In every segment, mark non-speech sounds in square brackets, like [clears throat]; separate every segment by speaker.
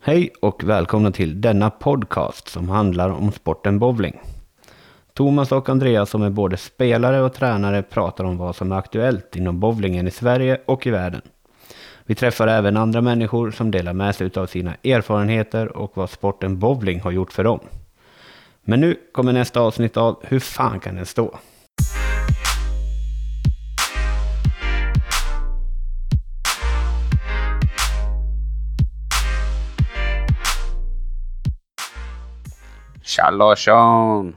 Speaker 1: Hej och välkomna till denna podcast som handlar om sporten bowling. Thomas och Andreas som är både spelare och tränare pratar om vad som är aktuellt inom bowlingen i Sverige och i världen. Vi träffar även andra människor som delar med sig av sina erfarenheter och vad sporten bowling har gjort för dem. Men nu kommer nästa avsnitt av Hur fan kan den stå?
Speaker 2: Tja Larsson!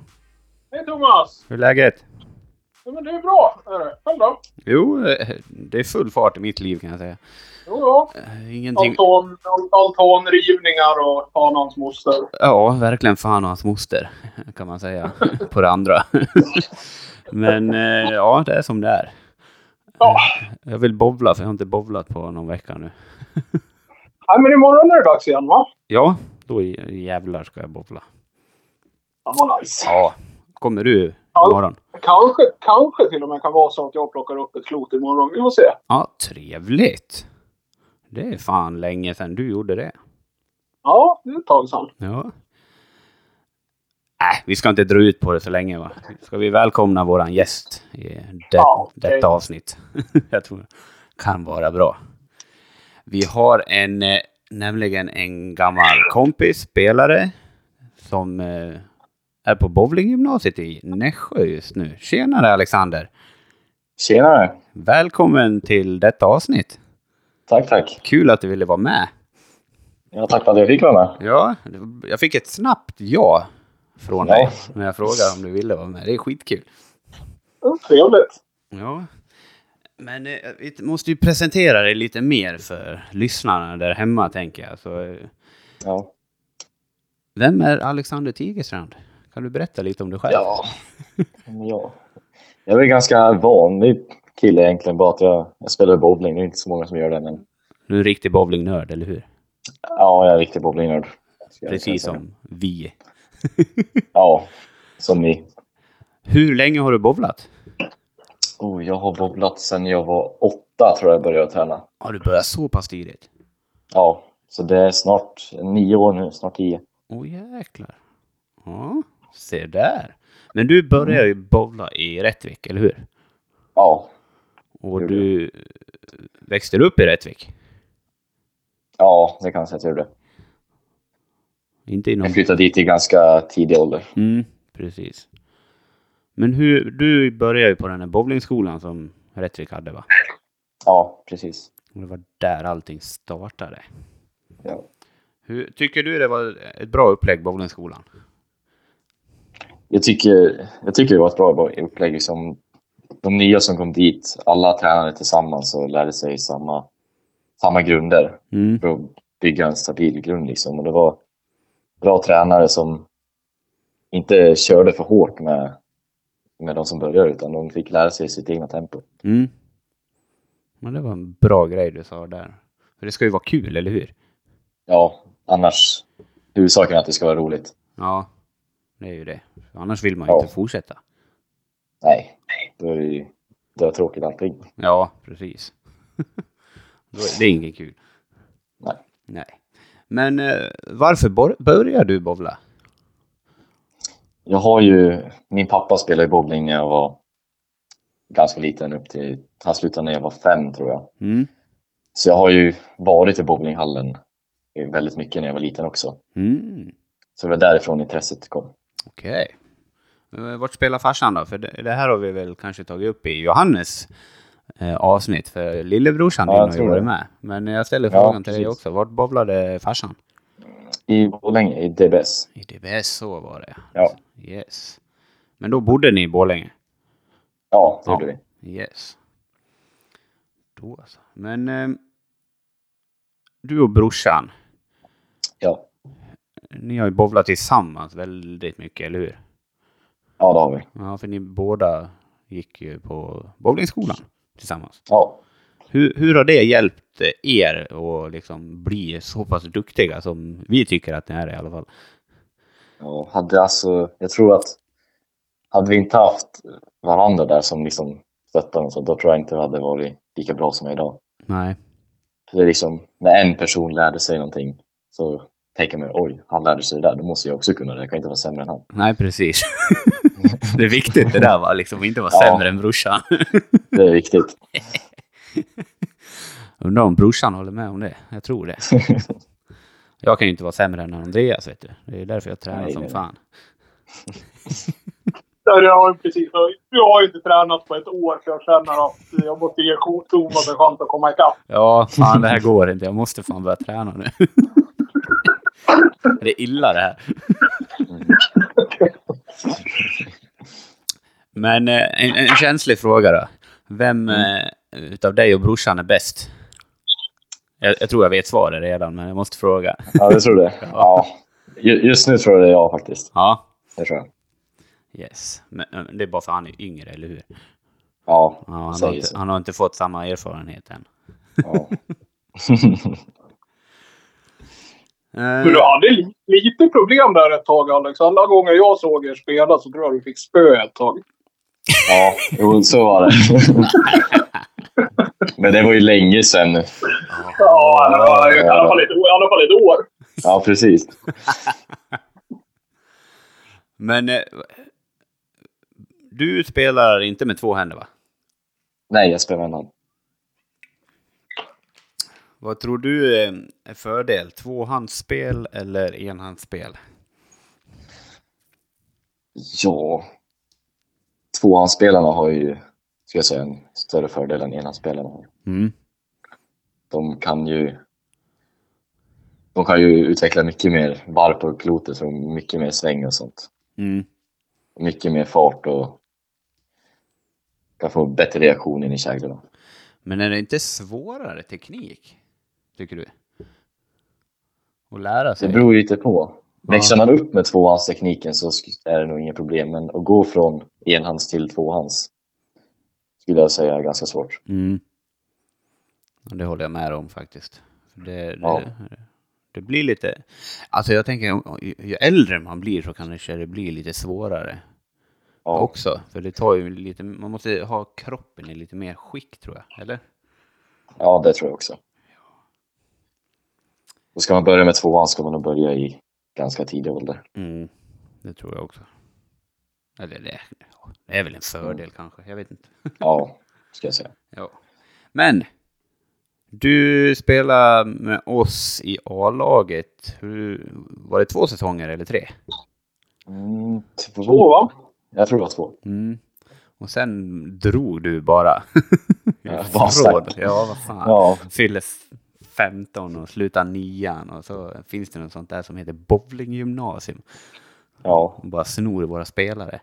Speaker 3: Hej Thomas!
Speaker 2: Hur är läget?
Speaker 3: Ja, men det är bra. är det. Själv då?
Speaker 2: Jo, eh, det är full fart i mitt liv kan jag säga.
Speaker 3: Jo, jo.
Speaker 2: Eh, Ingenting...
Speaker 3: Altan, al- altanrivningar och Hanans moster.
Speaker 2: Ja, verkligen fan och hans moster kan man säga [laughs] på det andra. Men eh, ja, det är som det är.
Speaker 3: Ja.
Speaker 2: Jag vill bowla för jag har inte bowlat på någon vecka nu.
Speaker 3: Nej, men imorgon är det dags igen va?
Speaker 2: Ja, då j- jävlar ska jag bowla.
Speaker 3: Ja, vad nice.
Speaker 2: Ja. Kommer du
Speaker 3: Ja.
Speaker 2: imorgon?
Speaker 3: Kanske, kanske till och med kan vara så att jag plockar upp ett klot imorgon. Vi får se.
Speaker 2: Ja, trevligt! Det är fan länge sedan du gjorde det.
Speaker 3: Ja, det är ett tag sedan.
Speaker 2: Ja. Äh, vi ska inte dra ut på det så länge va? Ska vi välkomna våran gäst i det,
Speaker 3: Ja, okej.
Speaker 2: detta avsnitt? [laughs] Jag tror det kan vara bra. Vi har en, eh, nämligen en gammal kompis, spelare, som eh, är på bowlinggymnasiet i Nässjö just nu. Tjenare Alexander!
Speaker 4: Tjenare!
Speaker 2: Välkommen till detta avsnitt!
Speaker 4: Tack, tack.
Speaker 2: Kul att du ville vara med!
Speaker 4: Ja, tack för att jag fick vara med.
Speaker 2: Ja, det- jag fick ett snabbt ja från
Speaker 4: Ja.
Speaker 2: dig när jag frågade om du ville vara med. Det är skitkul.
Speaker 3: Mm, Trevligt.
Speaker 2: Ja. Men eh, vi måste ju presentera dig lite mer för lyssnarna där hemma, tänker jag. Så, eh,
Speaker 4: Ja.
Speaker 2: vem är Alexander Tigerstrand? Kan du berätta lite om dig själv?
Speaker 4: Ja. Men ja. Jag är en ganska vanlig kille egentligen, bara att jag, jag spelar bowling. Det är inte så många som gör det, men
Speaker 2: Du är en riktig bowlingnörd, eller hur?
Speaker 4: ja, jag är riktigt bowlingnörd. Ska jag
Speaker 2: Precis
Speaker 4: säga.
Speaker 2: som vi. [laughs]
Speaker 4: Ja, som ni.
Speaker 2: Hur länge har du bowlat?
Speaker 4: Oh, jag har bowlat sedan jag var åtta, tror jag började träna.
Speaker 2: Har du börjat så pass tidigt?
Speaker 4: Ja, så det är snart nio år nu, snart tio.
Speaker 2: Åh jäklar. Ja, se där. Men du började ju bowla i Rättvik, eller hur?
Speaker 4: Ja,
Speaker 2: Och
Speaker 4: Gjorde
Speaker 2: du eh, växte upp i Rättvik?
Speaker 4: ja det kan jag säga att jag gjorde.
Speaker 2: Inte inom...
Speaker 4: Jag flyttade dit i ganska tidig ålder.
Speaker 2: Mm, precis. Men hur, du började ju på den här bowlingskolan som Rättvik hade va?
Speaker 4: Ja, precis.
Speaker 2: Och det var där allting startade.
Speaker 4: Ja.
Speaker 2: Hur, tycker du det var ett bra upplägg, bowlingskolan?
Speaker 4: Jag tycker, jag tycker det var ett bra upplägg. Liksom, de nya som kom dit, alla tränade tillsammans och lärde sig samma, samma grunder
Speaker 2: Mm.
Speaker 4: för att bygga en stabil grund. Liksom. Och det var bra tränare som inte körde för hårt med, med de som började utan de fick lära sig sitt egna tempo.
Speaker 2: Mm. Men det var en bra grej du sa där. För det ska ju vara kul, eller hur?
Speaker 4: Ja, annars huvudsaken är att det ska vara roligt.
Speaker 2: Ja, det är ju det. Annars vill man ju
Speaker 4: Ja.
Speaker 2: inte fortsätta.
Speaker 4: Nej, då är det ju det är tråkigt allting.
Speaker 2: Ja, precis. [laughs] Då är det är inget kul.
Speaker 4: Nej.
Speaker 2: Nej. Men eh, varför bor- började du bowla?
Speaker 4: Jag har ju, min pappa spelade i bowling när jag var ganska liten upp till, han slutade när jag var fem tror jag.
Speaker 2: Mm.
Speaker 4: Så jag har ju varit i bowlinghallen väldigt mycket när jag var liten också.
Speaker 2: Mm.
Speaker 4: Så det var därifrån intresset kom.
Speaker 2: Okej. Eh, Vart spelar farsan då? För det, det här har vi väl kanske tagit upp i Johannes eh, avsnitt, för lillebrorsan
Speaker 4: Ja,
Speaker 2: din
Speaker 4: jag
Speaker 2: har ju
Speaker 4: tror
Speaker 2: varit
Speaker 4: det.
Speaker 2: med. Men jag ställer
Speaker 4: Ja,
Speaker 2: frågan till dig
Speaker 4: precis.
Speaker 2: också. Vart bowlade farsan?
Speaker 4: I Borlänge, i DBS.
Speaker 2: I DBS, så var det.
Speaker 4: Ja.
Speaker 2: Yes. Men då bodde ni i Borlänge?
Speaker 4: Ja, det
Speaker 2: Ja.
Speaker 4: gjorde vi.
Speaker 2: Yes. Då alltså. Men eh, du och brorsan,
Speaker 4: Ja.
Speaker 2: ni har ju bowlat tillsammans väldigt mycket, eller hur?
Speaker 4: ja, det har vi.
Speaker 2: Ja, för ni båda gick ju på bowlingskolan tillsammans.
Speaker 4: Ja.
Speaker 2: Hur, hur har det hjälpt er att liksom bli så pass duktiga som vi tycker att ni är i alla fall?
Speaker 4: Ja, hade alltså, jag tror att hade vi inte haft varandra där som liksom stöttade och så, då tror jag inte det hade varit lika bra som jag är idag.
Speaker 2: Nej.
Speaker 4: För det är liksom, när en person lärde sig någonting så tänker mig, oj, han lärde sig det där, då måste jag också kunna det. Jag kan inte vara sämre än han.
Speaker 2: Nej, [laughs] precis. det är viktigt det där, va? Liksom, inte vara
Speaker 4: Ja.
Speaker 2: sämre än brorsan.
Speaker 4: Det är viktigt.
Speaker 2: [laughs] Undrar om brorsan håller med om det. Jag tror [laughs] det. Jag kan ju inte vara sämre än Andreas, vet du. Det är därför jag tränar
Speaker 4: Nej,
Speaker 2: som
Speaker 4: nej.
Speaker 2: fan.
Speaker 3: Där jag har ju precis... Jag har ju inte tränat på ett år, så jag känner att jag måste ge Thomas en chans att komma ikapp.
Speaker 2: Ja, fan det [laughs] här går inte. Jag måste fan börja träna nu. [laughs] det är illa det här. Men eh, en, en känslig fråga då. Vem eh, utav dig och brorsan är bäst? Jag, jag tror jag vet svaret redan, men jag måste fråga.
Speaker 4: Ja, det tror det. [laughs] Ja. Ju- Just nu tror jag det är jag faktiskt.
Speaker 2: Ja,
Speaker 4: Det tror jag.
Speaker 2: yes. Men, men det är bara för han är yngre, eller hur?
Speaker 4: Ja,
Speaker 2: Ja, han, har
Speaker 4: säger
Speaker 2: inte,
Speaker 4: så.
Speaker 2: han har inte fått samma erfarenhet än.
Speaker 4: Ja.
Speaker 2: Mm.
Speaker 3: Men du hade li- lite problem där ett tag, Alex. Alla gånger jag såg er spela så tror jag du fick spö ett tag.
Speaker 4: ja, jo, så var [laughs] det. Men det var ju länge sedan nu.
Speaker 3: Ja, det var ju i alla fall ett, i alla fall ett år.
Speaker 4: Ja, precis.
Speaker 2: Men eh, du spelar inte med två händer va?
Speaker 4: Nej, jag spelar med en hand.
Speaker 2: Vad tror du eh, är fördel? Tvåhandsspel eller enhandsspel?
Speaker 4: Ja. Tvåhandsspelarna har ju, ska jag säga, en större fördel än enhandsspelarna har.
Speaker 2: Mm.
Speaker 4: de kan ju de kan ju utveckla mycket mer varv på pilotet, så mycket mer sväng och sånt.
Speaker 2: Mm.
Speaker 4: Mycket mer fart och kan få bättre reaktion in i käglorna.
Speaker 2: Men är det inte svårare teknik? Tycker du? Att lära
Speaker 4: Det
Speaker 2: sig?
Speaker 4: beror ju lite på. Växlar man upp med tvåhandstekniken så sk- är det nog inga problem, men att gå från enhands till tvåhands skulle jag säga är ganska svårt.
Speaker 2: Mm. Ja, Det håller jag med om faktiskt. Det, det,
Speaker 4: Ja.
Speaker 2: det blir lite... Alltså jag tänker, om- ju- ju äldre man blir så kanske det blir lite svårare
Speaker 4: Ja,
Speaker 2: också. För det tar ju lite... Man måste ha kroppen i lite mer skick tror jag, eller?
Speaker 4: ja det tror jag också. Och ska man börja med tvåhands ska man nog börja i ganska tidig ålder.
Speaker 2: Mm, det tror jag också. Eller det, det är väl en fördel kanske, jag vet inte.
Speaker 4: Ja, ska jag säga.
Speaker 2: Ja. Men, du spelar med oss i A-laget. Hur, var det två säsonger eller tre?
Speaker 4: Mm, två.
Speaker 3: Så, Oh, va?
Speaker 4: Jag tror det var två.
Speaker 2: Mm. Och sen drog du bara.
Speaker 4: [laughs] Ja,
Speaker 2: Från-
Speaker 4: vad starkt.
Speaker 2: Ja, vad fan.
Speaker 4: Ja,
Speaker 2: Fyller f- 15 och slutar nian och så finns det något sånt där som heter bowlinggymnasium.
Speaker 4: ja.
Speaker 2: och bara snor våra spelare.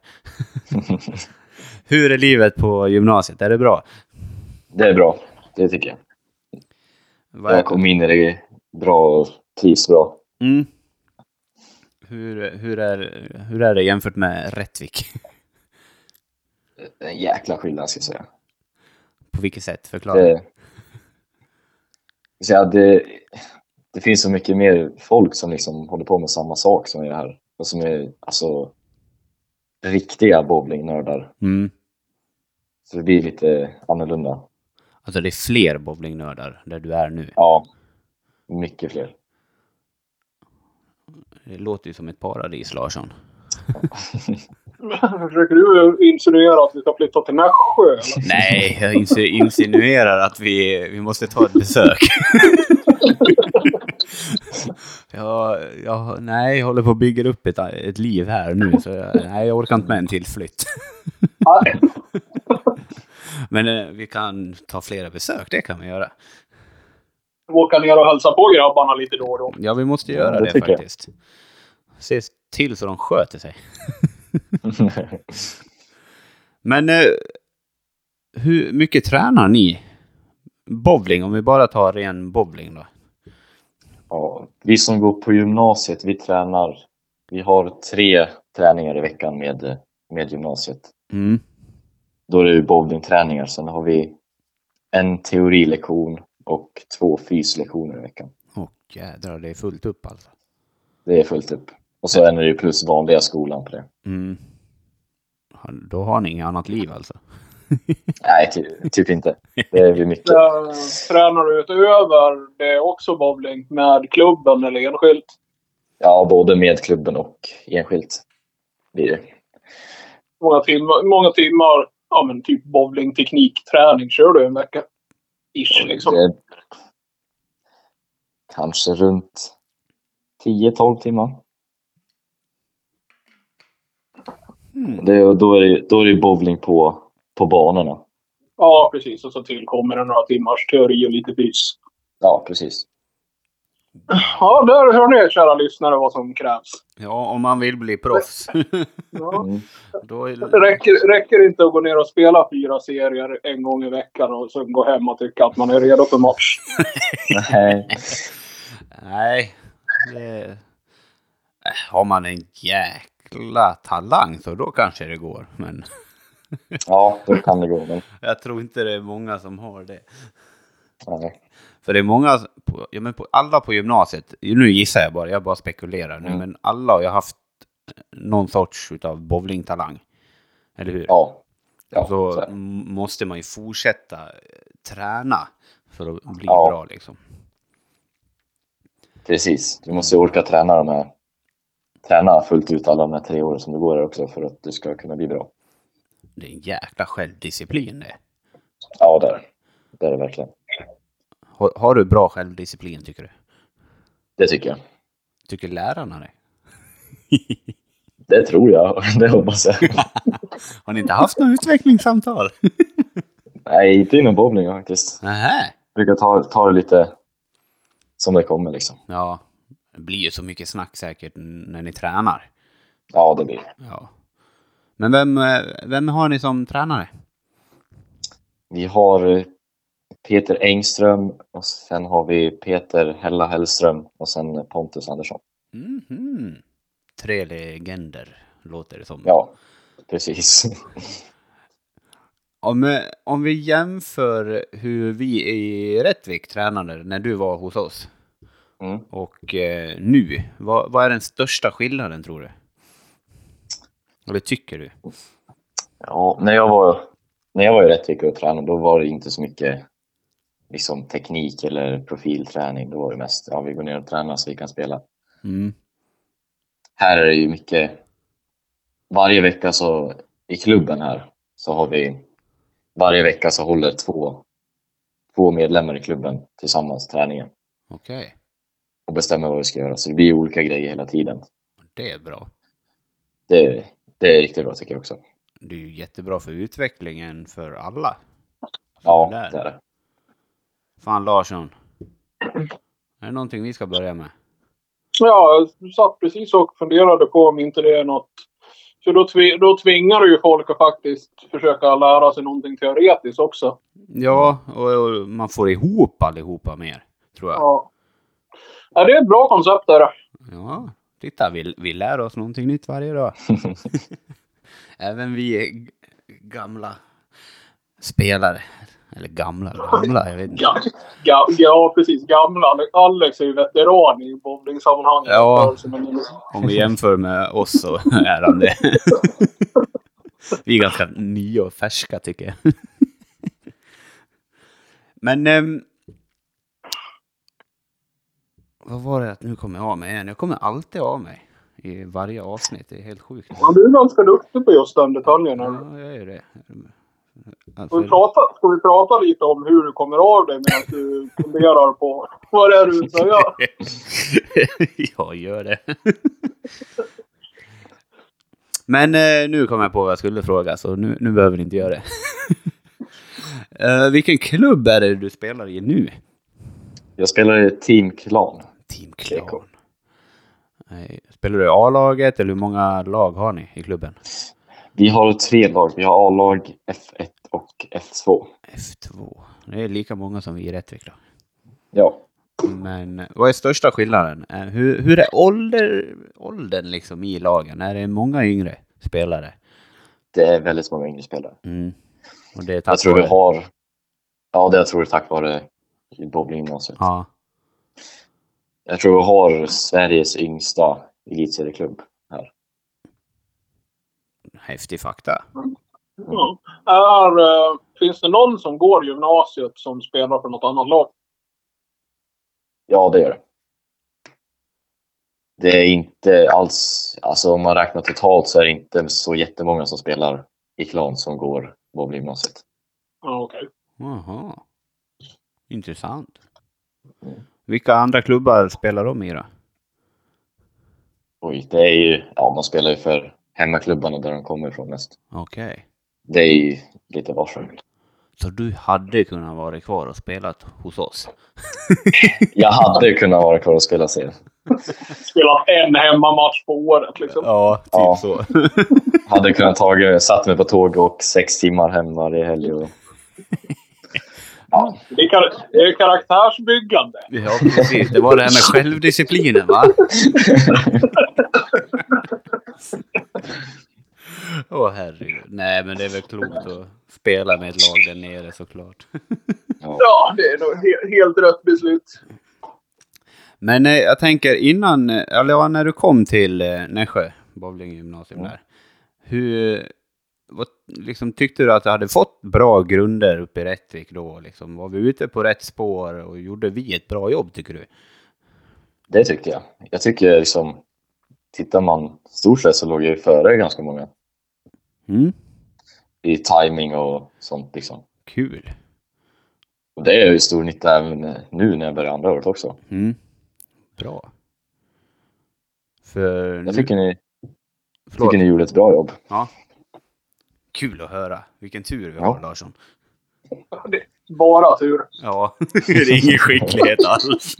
Speaker 4: [laughs]
Speaker 2: Hur är livet på gymnasiet? Är det bra?
Speaker 4: det är bra. Det tycker jag.
Speaker 2: Vad är-
Speaker 4: Jag kom in i det bra och trivs bra.
Speaker 2: Mm. Hur, hur, är, hur är det jämfört med Rättvik? [laughs]
Speaker 4: Det är En jäkla skillnad ska jag säga.
Speaker 2: På vilket sätt? Förklara.
Speaker 4: Det, så ja, det, det finns så mycket mer folk som liksom håller på med samma sak som jag här. Och som är alltså riktiga bowlingnördar.
Speaker 2: Mm.
Speaker 4: Så det blir lite annorlunda.
Speaker 2: Alltså det är fler bowlingnördar där du är nu.
Speaker 4: Ja, mycket fler.
Speaker 2: Det låter ju som ett paradis, Larsson.
Speaker 3: Försöker du insinuera att vi ska flytta till Nässjö? eller?
Speaker 2: Nej, jag insi- insinuerar att vi, vi måste ta ett besök. jag, jag, nej, jag håller på och bygger upp ett, ett liv här nu. Så jag, nej, jag orkar inte med en till flytt.
Speaker 3: [laughs]
Speaker 2: [laughs]
Speaker 3: Nej.
Speaker 2: Men eh, vi kan ta flera besök, det kan vi göra.
Speaker 3: Åka ner och hälsa på grabbarna lite då och då.
Speaker 2: Ja, vi måste göra
Speaker 4: Ja, det
Speaker 2: det,
Speaker 4: tycker jag.
Speaker 2: faktiskt. Se till så de sköter [laughs] sig. Men eh, hur mycket tränar ni? Bowling, om vi bara tar ren bowling då.
Speaker 4: Ja, vi som går på gymnasiet, vi tränar. Vi har tre träningar i veckan med, med gymnasiet.
Speaker 2: Mm.
Speaker 4: Då är det ju bowlingträningar. Sen har vi en teorilektion och två fyslektioner i veckan.
Speaker 2: Och jädrar, det är fullt upp alltså.
Speaker 4: Det är fullt upp. Och så är det ju plus vanliga skolan på det.
Speaker 2: Mm. Ja, Då har ni inget annat liv alltså?
Speaker 4: Nej, ty, typ inte. Det är ju mycket.
Speaker 3: Eh, Tränar du utöver det också bowling med klubben eller enskilt?
Speaker 4: Ja, både med klubben och enskilt blir det.
Speaker 3: Många timmar, många timmar ja, men typ bowling, teknik, träning kör du en vecka. Ish, liksom.
Speaker 4: Alltså, Det- Kanske runt 10-12 timmar. Det, och då är det, då är det ju bowling på, på banorna.
Speaker 3: Ja, precis. Och så tillkommer det några timmars teori och lite fys.
Speaker 4: Ja, precis.
Speaker 3: Ja, där hör ni kära lyssnare vad som krävs.
Speaker 2: Ja, om man vill bli [laughs] proffs.
Speaker 3: Ja.
Speaker 4: Mm.
Speaker 2: Då är
Speaker 3: Det räcker, räcker inte att gå ner och spela fyra serier en gång i veckan och sen gå hem och tycka att man är redo för match.
Speaker 4: Nej.
Speaker 2: Nej. Det... Äh, Har man en jäkla talang så då kanske det går. Men
Speaker 4: [laughs]
Speaker 2: [laughs]
Speaker 4: Ja, då kan det gå. Men,
Speaker 2: jag tror inte det är många som har det.
Speaker 4: nej.
Speaker 2: För det är många, på, ja, men på, alla på gymnasiet, nu gissar jag bara, jag bara spekulerar nu,
Speaker 4: Mm.
Speaker 2: men alla har ju haft eh, någon sorts utav bowlingtalang. Eller hur?
Speaker 4: Ja. ja
Speaker 2: Och så
Speaker 4: så är det.
Speaker 2: m- måste man ju fortsätta eh, träna för att bli
Speaker 4: Ja.
Speaker 2: bra liksom.
Speaker 4: Precis. Du måste ju orka träna de här träna fullt ut alla de här tre åren som du går här också för att du ska kunna bli bra.
Speaker 2: Det är en jäkla självdisciplin det.
Speaker 4: Ja, där. Det är det verkligen.
Speaker 2: Har, har du bra självdisciplin tycker du?
Speaker 4: Det tycker jag.
Speaker 2: Tycker lärarna det?
Speaker 4: Det tror jag. [laughs] Det hoppas jag.
Speaker 2: Har ni inte haft något utvecklingssamtal? [laughs]
Speaker 4: Nej, inte inom bowling faktiskt.
Speaker 2: Nähä.
Speaker 4: Jag brukar ta, ta det lite som det kommer liksom.
Speaker 2: Ja, det blir ju så mycket snack säkert n- när ni tränar.
Speaker 4: Ja, det blir det.
Speaker 2: Ja. Men vem, eh, vem har ni som tränare?
Speaker 4: Vi har eh, Peter Engström och sen har vi Peter Hella Hellström och sen Pontus Andersson.
Speaker 2: Mhm. Tre legender, låter det som.
Speaker 4: Ja, precis. [laughs]
Speaker 2: Om, eh, om vi jämför hur vi i Rättvik tränade när du var hos oss
Speaker 4: Mm.
Speaker 2: och eh, nu, vad, vad är den största skillnaden tror du? Eller tycker du?
Speaker 4: Ja, när jag var, när jag var i Rättvik och tränade då var det inte så mycket liksom, teknik eller profilträning. Då var det mest ja, vi går ner och tränar så vi kan spela.
Speaker 2: Mm.
Speaker 4: Här är det ju mycket. Varje vecka så i klubben här så har vi varje vecka så håller två, två medlemmar i klubben tillsammans träningen
Speaker 2: Okej,
Speaker 4: och bestämmer vad vi ska göra. Så det blir olika grejer hela tiden.
Speaker 2: det är bra.
Speaker 4: Det, det är riktigt bra tycker jag också.
Speaker 2: Det är ju jättebra för utvecklingen för alla.
Speaker 4: Ja,
Speaker 2: Där.
Speaker 4: det är det.
Speaker 2: Fan Larsson. Är det någonting vi ska börja med?
Speaker 3: Ja, jag satt precis och funderade på om inte det är något. För då, tvi- då tvingar du ju folk att faktiskt försöka lära sig någonting teoretiskt också.
Speaker 2: Ja, och, och man får ihop allihopa mer, tror jag.
Speaker 3: Ja. ja det är ett bra koncept där.
Speaker 2: Ja, titta, vi, vi lär oss någonting nytt varje dag. Även vi är g- gamla spelare. Eller gamla, gamla, jag vet inte.
Speaker 3: Ja, ja, ja precis. Gamla Ale- Alex är ju veteran i bowlingsammanhang.
Speaker 2: Ja.
Speaker 3: Men-
Speaker 2: Om vi jämför med oss så [laughs] är han det. Vi är ganska nya och färska tycker jag. Men... ehm, vad var det att nu kommer jag av mig igen? Jag kommer alltid av mig i varje avsnitt. Det är helt sjukt.
Speaker 3: Ja, du är ganska duktig på just den detaljen. här.
Speaker 2: Ja, jag är det.
Speaker 3: Ska vi, prata, ska vi prata lite om hur du kommer av dig medan du funderar på vad det är du vill säga?
Speaker 2: [laughs] jag gör det. Men eh, nu kom jag på vad jag skulle fråga, så nu, nu behöver ni inte göra det. [laughs] eh, vilken klubb är det du spelar i nu?
Speaker 4: Jag spelar i Team Klan.
Speaker 2: Team
Speaker 4: TK.
Speaker 2: Klan. Nej, Spelar du i A-laget eller hur många lag har ni i klubben?
Speaker 4: Vi har tre lag. Vi har A-lag, F1 och F2.
Speaker 2: F2. Det är lika många som vi i Rättvik då.
Speaker 4: Ja.
Speaker 2: Men eh, vad är största skillnaden? Eh, Hur, hur är ålder, åldern liksom i lagen? Är det många yngre spelare?
Speaker 4: Det är väldigt många yngre spelare.
Speaker 2: Mm. Och det är tack
Speaker 4: Jag tror vi
Speaker 2: vare-
Speaker 4: har... Ja, det jag tror jag tack vare bowlinggymnasiet.
Speaker 2: Ja.
Speaker 4: Jag tror vi har Sveriges yngsta elitserieklubb här.
Speaker 2: Häftig fakta.
Speaker 3: Ja. Är, eh, finns det någon som går gymnasiet som spelar för något annat lag?
Speaker 4: Ja, det gör det. Det är inte alls, alltså om man räknar totalt så är det inte så jättemånga som spelar i klan som går bowlinggymnasiet.
Speaker 3: Ja, okej.
Speaker 2: Jaha. Intressant.
Speaker 4: Mm.
Speaker 2: Vilka andra klubbar spelar de i då?
Speaker 4: Oj, det är ju, ja man spelar ju för hemmaklubbarna där de kommer ifrån mest.
Speaker 2: Okej.
Speaker 4: Det är ju lite varför.
Speaker 2: Så du hade kunnat vara kvar och spelat hos oss?
Speaker 4: Jag hade ju kunnat vara kvar och spela serien.
Speaker 3: Spelat en hemmamatch på året liksom.
Speaker 2: Ja, typ
Speaker 4: Ja.
Speaker 2: så.
Speaker 4: Hade kunnat tagit, satt mig på tåg och sex timmar hem varje helg. Och... Ja,
Speaker 3: Det är, kar- det är karaktärsbyggande.
Speaker 2: [laughs] Ja, precis. Det var det här med självdisciplinen,
Speaker 4: [laughs]
Speaker 2: va? Åh herregud. Nej, men det är väl klokt att spela med ett lag där nere såklart.
Speaker 4: ja.
Speaker 3: Ja, det är nog he- helt rätt beslut.
Speaker 2: Men eh, jag tänker innan, eh, eller ja, när du kom till eh, Nässjö bowlinggymnasium
Speaker 4: Mm.
Speaker 2: där. Hur, vad, liksom, tyckte du att du hade fått bra grunder uppe i Rättvik då? Liksom? Var vi ute på rätt spår och gjorde vi ett bra jobb tycker du?
Speaker 4: Det tycker jag. Jag tycker liksom, tittar man stort sett så låg jag ju före ganska många
Speaker 2: Mm.
Speaker 4: i timing och sånt liksom.
Speaker 2: Kul.
Speaker 4: Och det är ju stor nytta även nu när jag börjar andra året också.
Speaker 2: Mm. Bra. För nu,
Speaker 4: Jag tycker ni,
Speaker 2: förlåt.
Speaker 4: tycker ni gjorde ett bra jobb.
Speaker 2: Ja. Kul att höra. Vilken tur vi
Speaker 4: Ja.
Speaker 2: har Larsson.
Speaker 3: Bara tur.
Speaker 2: Ja, [laughs] det är ingen skicklighet
Speaker 3: [laughs]
Speaker 4: [laughs]
Speaker 2: alls.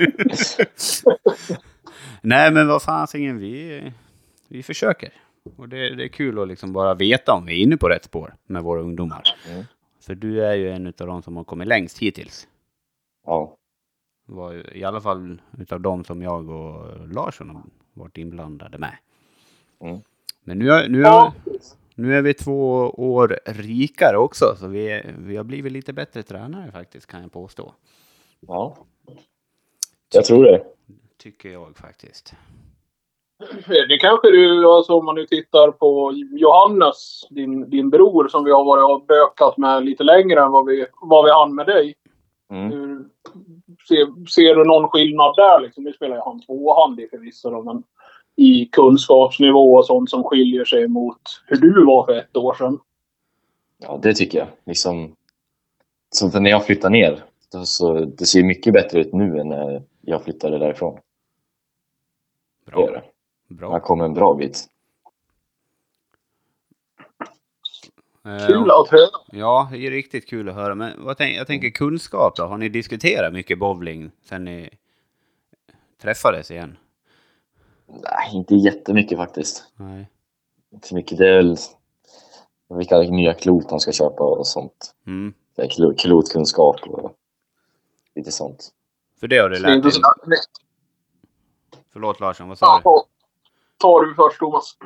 Speaker 2: Nej, men vad fasingen, vi, vi försöker. Och det, det är kul att liksom bara veta om vi är inne på rätt spår med våra ungdomar.
Speaker 4: Mm.
Speaker 2: För du är ju en av de som har kommit längst hittills.
Speaker 4: Ja,
Speaker 2: Var ju, I alla fall utav de som jag och Larsson har varit inblandade med.
Speaker 4: Mm.
Speaker 2: Men nu, är- nu, är-
Speaker 3: Ja,
Speaker 2: nu är vi två år rikare också, så vi, är- vi har blivit lite bättre tränare faktiskt, kan jag påstå.
Speaker 4: ja. Jag tror det.
Speaker 2: Tycker jag faktiskt.
Speaker 3: det kanske du, alltså om man nu tittar på Johannes, din, din bror som vi har varit och bökat med lite längre än vad vi, vad vi hann med dig.
Speaker 4: Mm.
Speaker 3: Hur, ser, ser du någon skillnad där? Liksom, nu spelar ju han tvåhandig förvisso, då, men i kunskapsnivå och sånt som skiljer sig mot hur du var för ett år sedan.
Speaker 4: Ja, det tycker jag. Liksom, så för när jag flyttade ner, då så, det ser mycket bättre ut nu än när jag flyttade därifrån. Det gör
Speaker 2: Bra.
Speaker 4: det.
Speaker 2: Bra.
Speaker 4: Jag kom en bra bit.
Speaker 3: Kul
Speaker 2: Eh,
Speaker 3: att höra.
Speaker 2: ja, det är riktigt kul att höra. Men vad tänk, jag tänker kunskap då. Har ni diskuterat mycket bowling sen ni träffades igen?
Speaker 4: Nej, inte jättemycket faktiskt.
Speaker 2: Nej.
Speaker 4: Inte mycket. Det är väl vilka nya klot man ska köpa och sånt.
Speaker 2: Mm.
Speaker 4: Det är klo- Klotkunskap och lite sånt.
Speaker 2: För det har du
Speaker 3: Det är
Speaker 2: lärt
Speaker 3: inte
Speaker 2: dig.
Speaker 3: så...
Speaker 2: Förlåt Larsson, vad sa du?
Speaker 3: Ja, Tar du först Thomas.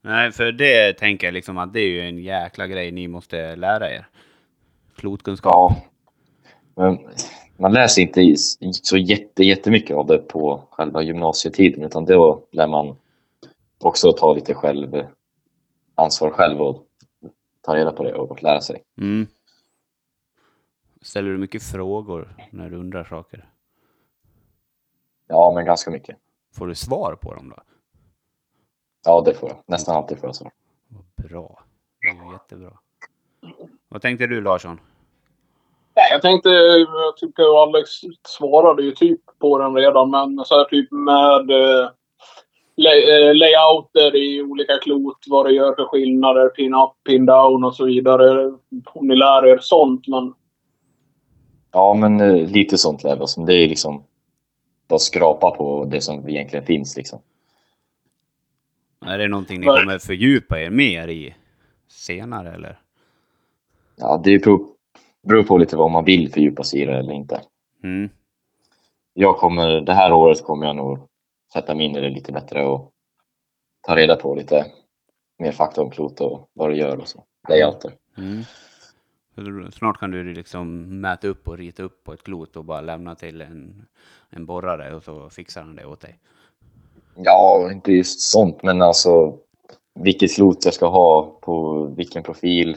Speaker 2: Nej, för det tänker jag liksom att det är ju en jäkla grej ni måste lära er. Klotkunskap.
Speaker 4: Ja. Men man läser inte i- så jätte, jättemycket av det på själva gymnasietiden utan då lär man också ta lite själv ansvar själv och ta reda på det och lära sig.
Speaker 2: Mm. Ställer du mycket frågor när du undrar saker?
Speaker 4: Ja, men ganska mycket.
Speaker 2: Får du svar på dem då?
Speaker 4: Ja, det får jag. Nästan alltid får jag svar.
Speaker 2: Vad bra. Det är ju jättebra. Vad tänkte du Larsson?
Speaker 3: Nej, jag tänkte, jag tycker Alex svarade ju typ på den redan, men så här typ med eh, lay- eh, layouter i olika klot, vad det gör för skillnader, pin-up, pin-down och så vidare. Om ni lär er sånt, men
Speaker 4: Ja, men eh, lite sånt lär vi oss. Men Det är liksom bara skrapa på det som egentligen finns. Liksom.
Speaker 2: Är det någonting ni
Speaker 3: Nej.
Speaker 2: kommer fördjupa er mer i senare eller?
Speaker 4: Ja, det beror- beror på lite vad man vill fördjupa sig i det eller inte.
Speaker 2: Mm.
Speaker 4: jag kommer, det här året kommer jag nog sätta mig in i det lite bättre och ta reda på lite mer fakta om klot och vad det gör och så. Layouter.
Speaker 2: Mm. Snart kan du liksom mäta upp och rita upp på ett klot och bara lämna till en, en borrare och så fixar han det åt dig.
Speaker 4: Ja, inte just sånt, men alltså vilket klot jag ska ha på vilken profil,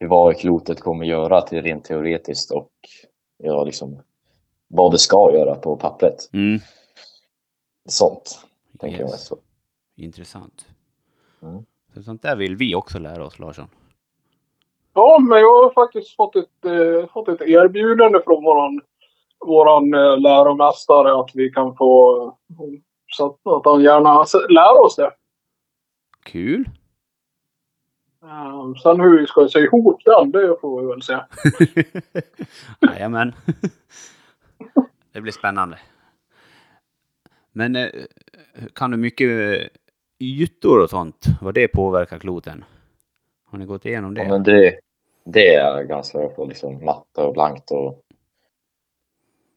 Speaker 4: vad klotet kommer göra till rent teoretiskt och ja, liksom, vad det ska göra på pappret.
Speaker 2: Mm.
Speaker 4: Sånt. Mm. tänker
Speaker 2: Yes.
Speaker 4: jag. Så.
Speaker 2: Intressant.
Speaker 4: Mm.
Speaker 2: Så sånt där vill vi också lära oss, Larsson.
Speaker 3: Ja, men jag har faktiskt fått ett, eh, fått ett erbjudande från våran, våran eh, läromästare att vi kan få... eh, Så att, att han gärna s- lär oss det.
Speaker 2: Kul!
Speaker 3: Eh, Sen hur vi ska se ihop den, det får vi väl se.
Speaker 2: [laughs] Jajamän. Det blir spännande. Men eh, kan du mycket eh, ytor och sånt? Vad det påverkar kloten? Har ni gått igenom det?
Speaker 4: Ja, men det, det är ganska bra på liksom matte och blankt och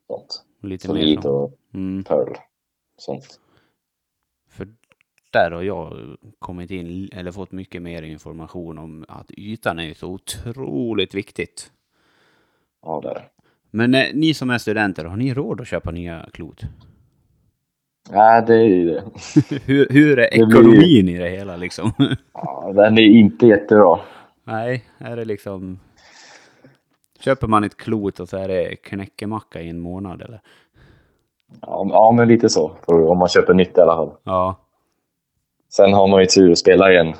Speaker 4: sånt.
Speaker 2: Lite mer
Speaker 4: Solid
Speaker 2: så.
Speaker 4: och
Speaker 2: Mm.
Speaker 4: pearl. Sånt.
Speaker 2: För där har jag kommit in, eller fått mycket mer information om att ytan är ju så otroligt viktigt.
Speaker 4: Ja, det är det.
Speaker 2: Men eh, ni som är studenter, har ni råd att köpa nya klot?
Speaker 4: Nej, det är ju det.
Speaker 2: hur, hur är
Speaker 4: blir-
Speaker 2: ekonomin i det hela liksom? [laughs]
Speaker 4: Ja, den är inte jättebra.
Speaker 2: Nej, är det liksom... Köper man ett klot och så är det knäckemacka i en månad eller?
Speaker 4: Ja, ja, men lite så. För Om man köper nytt i alla fall.
Speaker 2: Ja,
Speaker 4: Sen har man ju tur att spela i en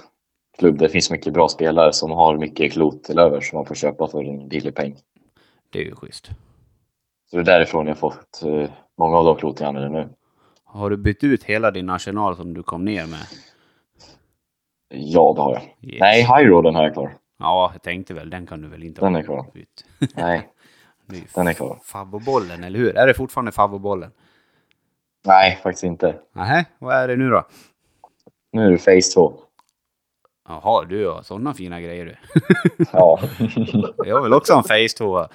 Speaker 4: klubb där det finns mycket bra spelare som har mycket klot till över som man får köpa för en billig peng.
Speaker 2: det är ju schysst.
Speaker 4: Så det är därifrån jag fått eh, många av de kloten jag använder nu.
Speaker 2: Har du bytt ut hela din arsenal som du kom ner med?
Speaker 4: Ja, det har jag.
Speaker 2: Yes.
Speaker 4: Nej, Highroaden har jag kvar.
Speaker 2: Ja, jag tänkte väl, den kan du väl inte
Speaker 4: Den
Speaker 2: ha
Speaker 4: är kvar.
Speaker 2: bytt? [laughs]
Speaker 4: Nej,
Speaker 2: Det ju
Speaker 4: Den är kvar.
Speaker 2: Favvobollen, eller hur? Är det fortfarande favvobollen?
Speaker 4: nej faktiskt inte.
Speaker 2: Nähä, vad är det nu då?
Speaker 4: Nu är det Phase [laughs] 2.
Speaker 2: Jaha, du har sådana fina grejer du.
Speaker 4: Ja,
Speaker 2: Jag vill också ha en Face 2.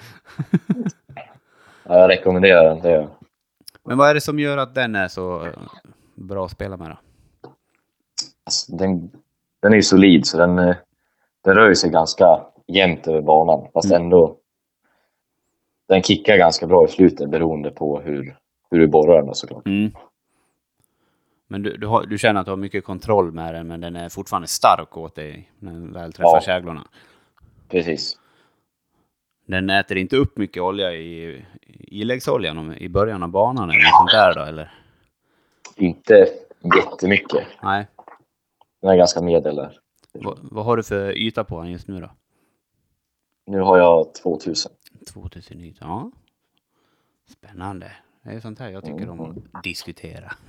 Speaker 4: jag rekommenderar den. Det gör jag.
Speaker 2: Men vad är det som gör att den är så eh, bra att spela med då?
Speaker 4: Alltså, den, den är ju solid så den, eh, den rör ju sig ganska jämnt över banan. Fast ändå. Den kickar ganska bra i slutet beroende på hur, hur du borrar den då, såklart.
Speaker 2: Men du, du, har, du känner att du har mycket kontroll med den, men den är fortfarande stark åt dig när den väl träffar
Speaker 4: Ja.
Speaker 2: käglorna.
Speaker 4: Precis.
Speaker 2: Den äter inte upp mycket olja i i iläggsoljan om- i början av banan eller något sånt där då, eller?
Speaker 4: Inte jättemycket.
Speaker 2: Nej.
Speaker 4: Den är ganska medel där.
Speaker 2: Va, vad har du för yta på den just nu då?
Speaker 4: Nu har jag 2000.
Speaker 2: 2000 yta, ja. Spännande. Det är sånt här jag tycker om att diskutera. [laughs]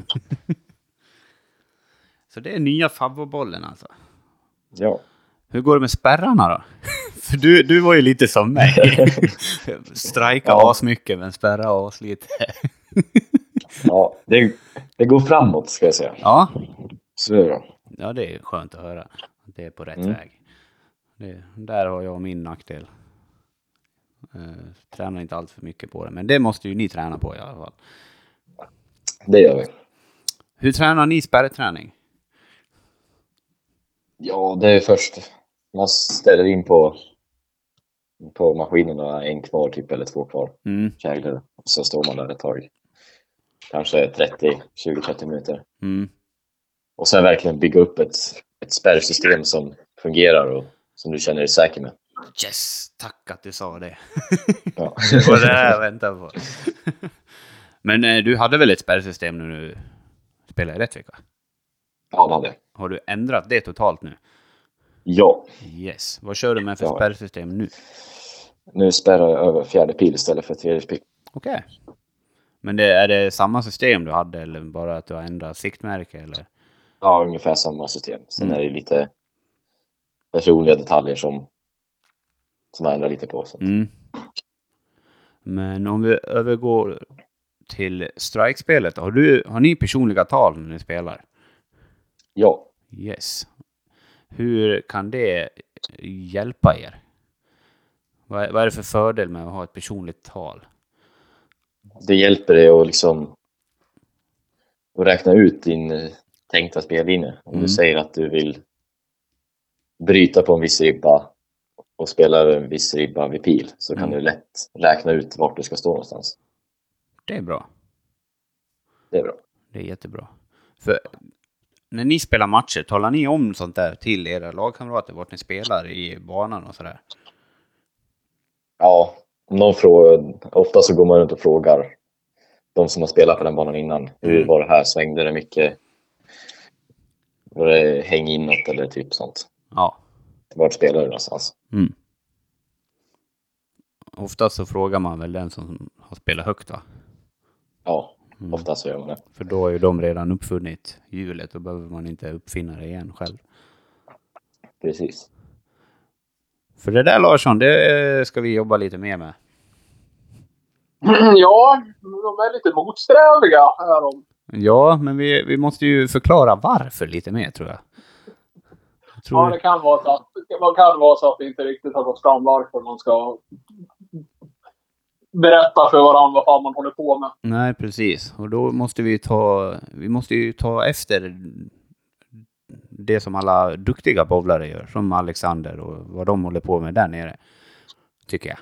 Speaker 2: Så det är nya favvobollen alltså.
Speaker 4: Ja.
Speaker 2: Hur går det med spärrarna då? [laughs] För du, du var ju lite som mig. [laughs] Strajka
Speaker 4: Ja.
Speaker 2: asmycket men spärra aslite.
Speaker 4: ja det, det går framåt ska jag säga.
Speaker 2: [laughs] Ja.
Speaker 4: Så är det bra.
Speaker 2: ja, det är skönt att höra. att Det är på rätt
Speaker 4: Mm.
Speaker 2: väg. Det, där har jag min nackdel. Eh, tränar inte allt för mycket på det, men det måste ju ni träna på i alla fall.
Speaker 4: Det gör vi.
Speaker 2: Hur tränar ni spärrträning?
Speaker 4: Ja, det är först. Man ställer in på, på maskinerna en kvar typ eller två kvar.
Speaker 2: Mm.
Speaker 4: käglor. Och så står man där ett tag. Kanske 30, 20-30 minuter.
Speaker 2: Mm.
Speaker 4: Och sen verkligen bygga upp ett, ett spärrsystem som fungerar och som du känner dig säker med.
Speaker 2: Yes! Tack att du sa [laughs] det.
Speaker 4: Ja.
Speaker 2: Det var det här jag väntade på. [laughs] Men eh, du hade väl ett spärrsystem när du spelade i Rättvik? va?
Speaker 4: [laughs] ja, det hade jag.
Speaker 2: Har du ändrat det totalt nu?
Speaker 4: Ja,
Speaker 2: Yes. Vad kör du med för
Speaker 4: Ja.
Speaker 2: spärrsystem nu?
Speaker 4: nu spärrar jag över fjärde pil istället för tredje pil.
Speaker 2: Okej. Men det, är det samma system du hade eller bara att du har ändrat siktmärke eller?
Speaker 4: Ja, ungefär samma system. Sen
Speaker 2: Mm.
Speaker 4: är det lite personliga detaljer som, som jag ändrar lite på. Så.
Speaker 2: Mm. Men om vi övergår till strikespelet. Har, du, har ni personliga tal när ni spelar?
Speaker 4: Ja,
Speaker 2: Yes. Hur kan det hjälpa er? Vad är, vad är det för fördel med att ha ett personligt tal?
Speaker 4: det hjälper dig att liksom att räkna ut din eh, tänkta spellinje. Om
Speaker 2: Mm.
Speaker 4: du säger att du vill bryta på en viss ribba och spela över en viss ribba vid pil så kan
Speaker 2: Mm.
Speaker 4: du lätt räkna ut vart du ska stå någonstans.
Speaker 2: Det är bra.
Speaker 4: Det är bra.
Speaker 2: Det är jättebra. För när ni spelar matcher, talar ni om sånt där till era lagkamrater, vart ni spelar i banan och sådär?
Speaker 4: Ja, om någon frågar, ofta så går
Speaker 2: Mm.
Speaker 4: man runt och frågar de som har spelat på den banan innan. Hur var det här? Svängde det mycket? Då är det häng inåt eller typ sånt.
Speaker 2: Ja.
Speaker 4: Vart spelar du någonstans?
Speaker 2: Mm. Oftast så frågar man väl den som har spelat högt va?
Speaker 4: Ja,
Speaker 2: Mm.
Speaker 4: oftast så gör man det.
Speaker 2: För då har ju de redan uppfunnit hjulet, då behöver man inte uppfinna det igen själv.
Speaker 4: Precis.
Speaker 2: För det där Larsson, det eh, ska vi jobba lite mer med.
Speaker 3: Mm, Ja, de är lite motsträviga är de.
Speaker 2: Ja, men vi, vi måste ju förklara varför lite mer tror jag. jag
Speaker 3: Ja,
Speaker 2: tror,
Speaker 3: det kan vara så att, det kan vara så att det inte riktigt har gått fram varför man ska berätta för varandra vad fan man håller på med.
Speaker 2: nej, precis. Och då måste vi ta, vi måste ju ta efter det som alla duktiga bowlare gör, som Alexander och vad de håller på med där nere. Tycker jag.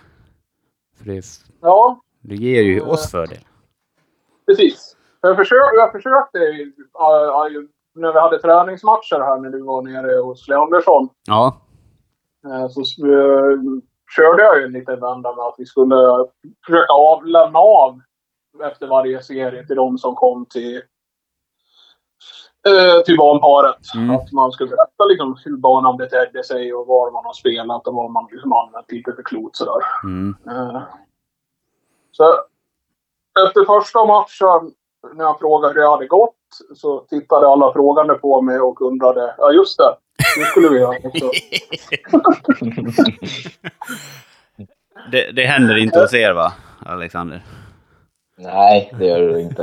Speaker 2: För det,
Speaker 3: Ja,
Speaker 2: det ger ju oss fördel.
Speaker 3: precis. Jag, försö- jag försökte ju, äh, äh, när vi hade träningsmatcher här när du var nere hos Leandersson.
Speaker 2: Ja,
Speaker 3: Eh, Så eh, körde jag ju en liten vända med att vi skulle försöka avlämna av efter varje serie till de som kom till, eh, till banparet.
Speaker 2: Mm.
Speaker 3: Att man skulle berätta liksom hur banan betedde sig och var man har spelat och vad man liksom använt lite för klot sådär.
Speaker 2: mm,
Speaker 3: Eh, Så efter första matchen när jag frågade hur det hade gått så tittade alla frågande på mig och undrade ja just det, det skulle vi göra också.
Speaker 2: det, det händer inte hos er va, Alexander?
Speaker 4: Nej, det gör
Speaker 2: [laughs]
Speaker 4: du inte.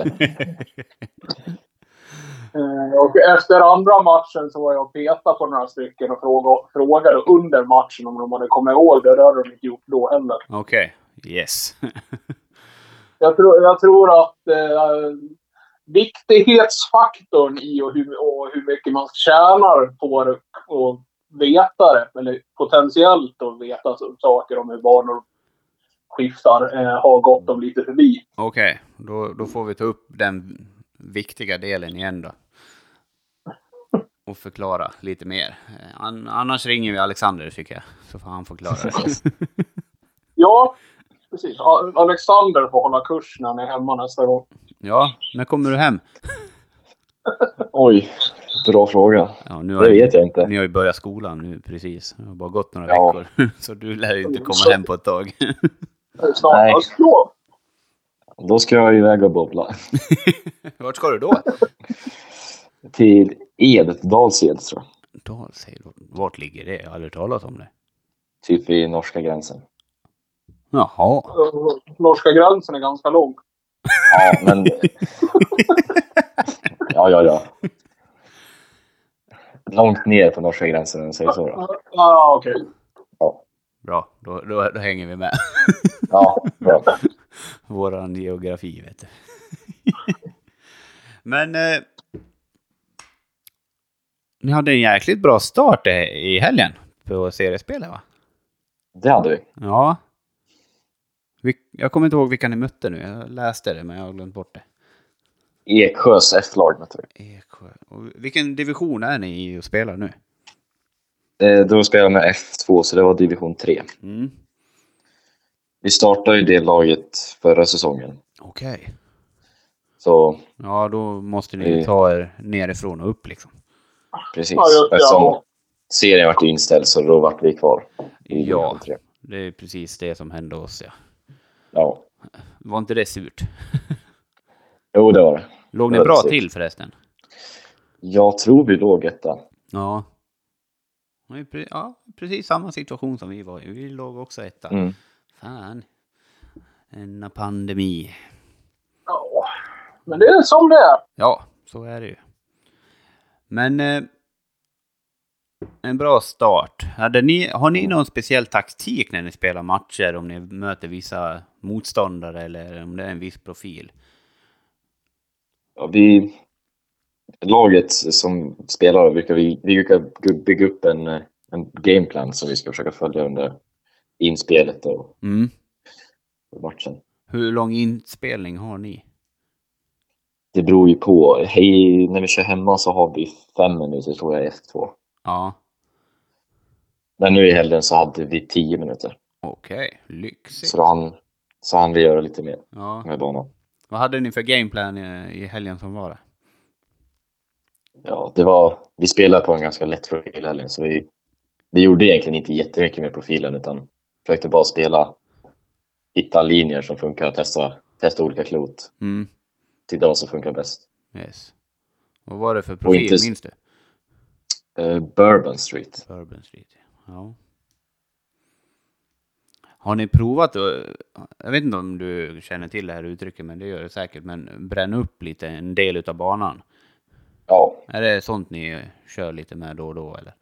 Speaker 3: Eh, Och efter andra matchen så var jag och petade på några stycken och fråga- frågade under matchen om de hade kommit ihåg det. Det hade de inte gjort då heller.
Speaker 2: Okej, yes.
Speaker 3: Jag tror, jag tror att eh, viktighetsfaktorn i och hur, och hur mycket man tjänar på det och veta det, eller potentiellt att veta så- saker om hur banor skiftar, eh, har gått dem lite förbi.
Speaker 2: Okej, då, då får vi ta upp den viktiga delen igen då. Och förklara lite mer. Eh, An, annars ringer vi Alexander tycker jag, så får han förklara det.
Speaker 4: [laughs]
Speaker 3: Ja, precis. A- Alexander får hålla kurs när han är hemma nästa gång.
Speaker 2: Ja, när kommer du hem?
Speaker 4: Oj, bra fråga.
Speaker 2: Ja, nu har
Speaker 4: Det vet jag inte.
Speaker 2: Ni har ju börjat skolan nu precis. Det har bara gått några
Speaker 4: Ja.
Speaker 2: veckor. [laughs] Så du lär ju inte komma hem på ett tag. [laughs]
Speaker 4: Nej.
Speaker 3: Eh, Snart. Alltså,
Speaker 4: Då ska jag iväg och bowla.
Speaker 2: Vart ska du då?
Speaker 4: Till Ed, Dalsed tror jag.
Speaker 2: Dalsed. Vart ligger det? Jag har aldrig talat om det.
Speaker 4: Typ vid norska gränsen.
Speaker 2: Jaha.
Speaker 3: Norska gränsen är ganska lång.
Speaker 4: Ja, men... Ja, ja, ja. Långt ner på norska gränsen om man säger så. Då.
Speaker 3: Ja, okej.
Speaker 2: Bra, då, då, då hänger vi med.
Speaker 4: Ja, bra.
Speaker 2: Våran geografi, vet du. [laughs] Men... Eh, ni hade en jäkligt bra start eh, i helgen på seriespelet, va?
Speaker 4: Det hade vi.
Speaker 2: Ja. Vi, jag kommer inte ihåg vilka ni mötte nu. Jag läste det, men jag har glömt bort det.
Speaker 4: Eksjös F-lag mötte vi.
Speaker 2: Eksjö. Och vilken division är ni i och spelar nu?
Speaker 4: Eh, Då spelade jag med F2, så det var division 3.
Speaker 2: Mm.
Speaker 4: Vi startade ju det laget förra säsongen.
Speaker 2: Okej.
Speaker 4: Så
Speaker 2: Ja, då måste ni ju
Speaker 4: Mm.
Speaker 2: ta er nerifrån och upp liksom.
Speaker 4: precis.
Speaker 3: Ja, just det.
Speaker 4: Eftersom serien vart inställd så då vart vi kvar. i
Speaker 2: Ja,
Speaker 4: division 3.
Speaker 2: det är precis det som hände oss, ja.
Speaker 4: ja.
Speaker 2: Var inte det surt?
Speaker 4: Jo, det var det.
Speaker 2: Låg ni
Speaker 4: Ja, det
Speaker 2: bra
Speaker 4: är surt.
Speaker 2: till förresten?
Speaker 4: Jag tror vi låg etta.
Speaker 2: Ja. Det är pre- Ja, precis samma situation som vi var i. Vi låg också etta.
Speaker 4: Mm.
Speaker 2: Fan. En pandemi.
Speaker 3: Ja. Men det är som det är.
Speaker 2: Ja, så är det ju. Men... Eh, en bra start. Hade ni, har ni någon speciell taktik när ni spelar matcher? Om ni möter vissa motståndare eller om det är en viss profil?
Speaker 4: Ja, vi, laget som spelar brukar vi, vi brukar gu- bygga upp en, eh, en gameplan som vi ska försöka följa under inspelet och
Speaker 2: Mm.
Speaker 4: matchen.
Speaker 2: Hur lång inspelning har ni?
Speaker 4: Det beror ju på. Hej, när vi kör hemma så har vi fem minuter tror jag i F2.
Speaker 2: Ja,
Speaker 4: Men nu i helgen så hade vi tio minuter.
Speaker 2: okej. Lyxigt.
Speaker 4: Så då han, så han vill göra lite mer
Speaker 2: Ja.
Speaker 4: med banan.
Speaker 2: Vad hade ni för gameplan eh, i helgen som var? Där?
Speaker 4: ja, det var, vi spelade på en ganska lätt profil heller, så vi, vi gjorde egentligen inte jättemycket med profilen utan försökte bara spela, hitta linjer som funkar och testa, testa olika klot
Speaker 2: Mm.
Speaker 4: till de som funkar bäst.
Speaker 2: Yes. Vad var det för profil?
Speaker 4: inte s-
Speaker 2: Minns du?
Speaker 4: Eh, Bourbon Street.
Speaker 2: Bourbon Street. Ja. Har ni provat, eh, jag vet inte om du känner till det här uttrycket, men det gör det säkert, men bränna upp lite en del utav banan.
Speaker 4: Ja,
Speaker 2: Är det sånt ni eh, kör lite med då och då eller?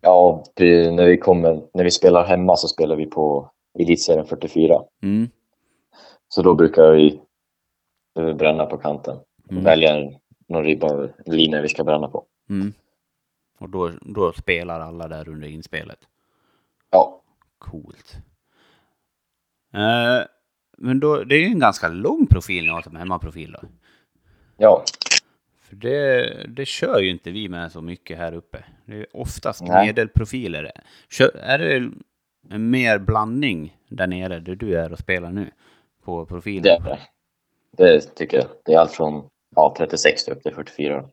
Speaker 4: ja det- när, vi kommer, när vi spelar hemma så spelar vi på Elitserien 44.
Speaker 2: Mm.
Speaker 4: Så då brukar vi eh, bränna på kanten.
Speaker 2: Mm.
Speaker 4: Välja en- någon ribba, linje vi ska bränna på.
Speaker 2: Mm. Och då, då spelar alla där under inspelet.
Speaker 4: Ja,
Speaker 2: Coolt. Eh, men då, det är ju en ganska lång profil ni har som hemmaprofil då.
Speaker 4: ja,
Speaker 2: För det, det kör ju inte vi med så mycket här uppe. Det är oftast
Speaker 4: Nej.
Speaker 2: medelprofiler. Kör, är det en mer blandning där nere, där du är och spelar nu? På profilen?
Speaker 4: det är det. Det tycker jag. Det är allt från ja, 36 upp till 44.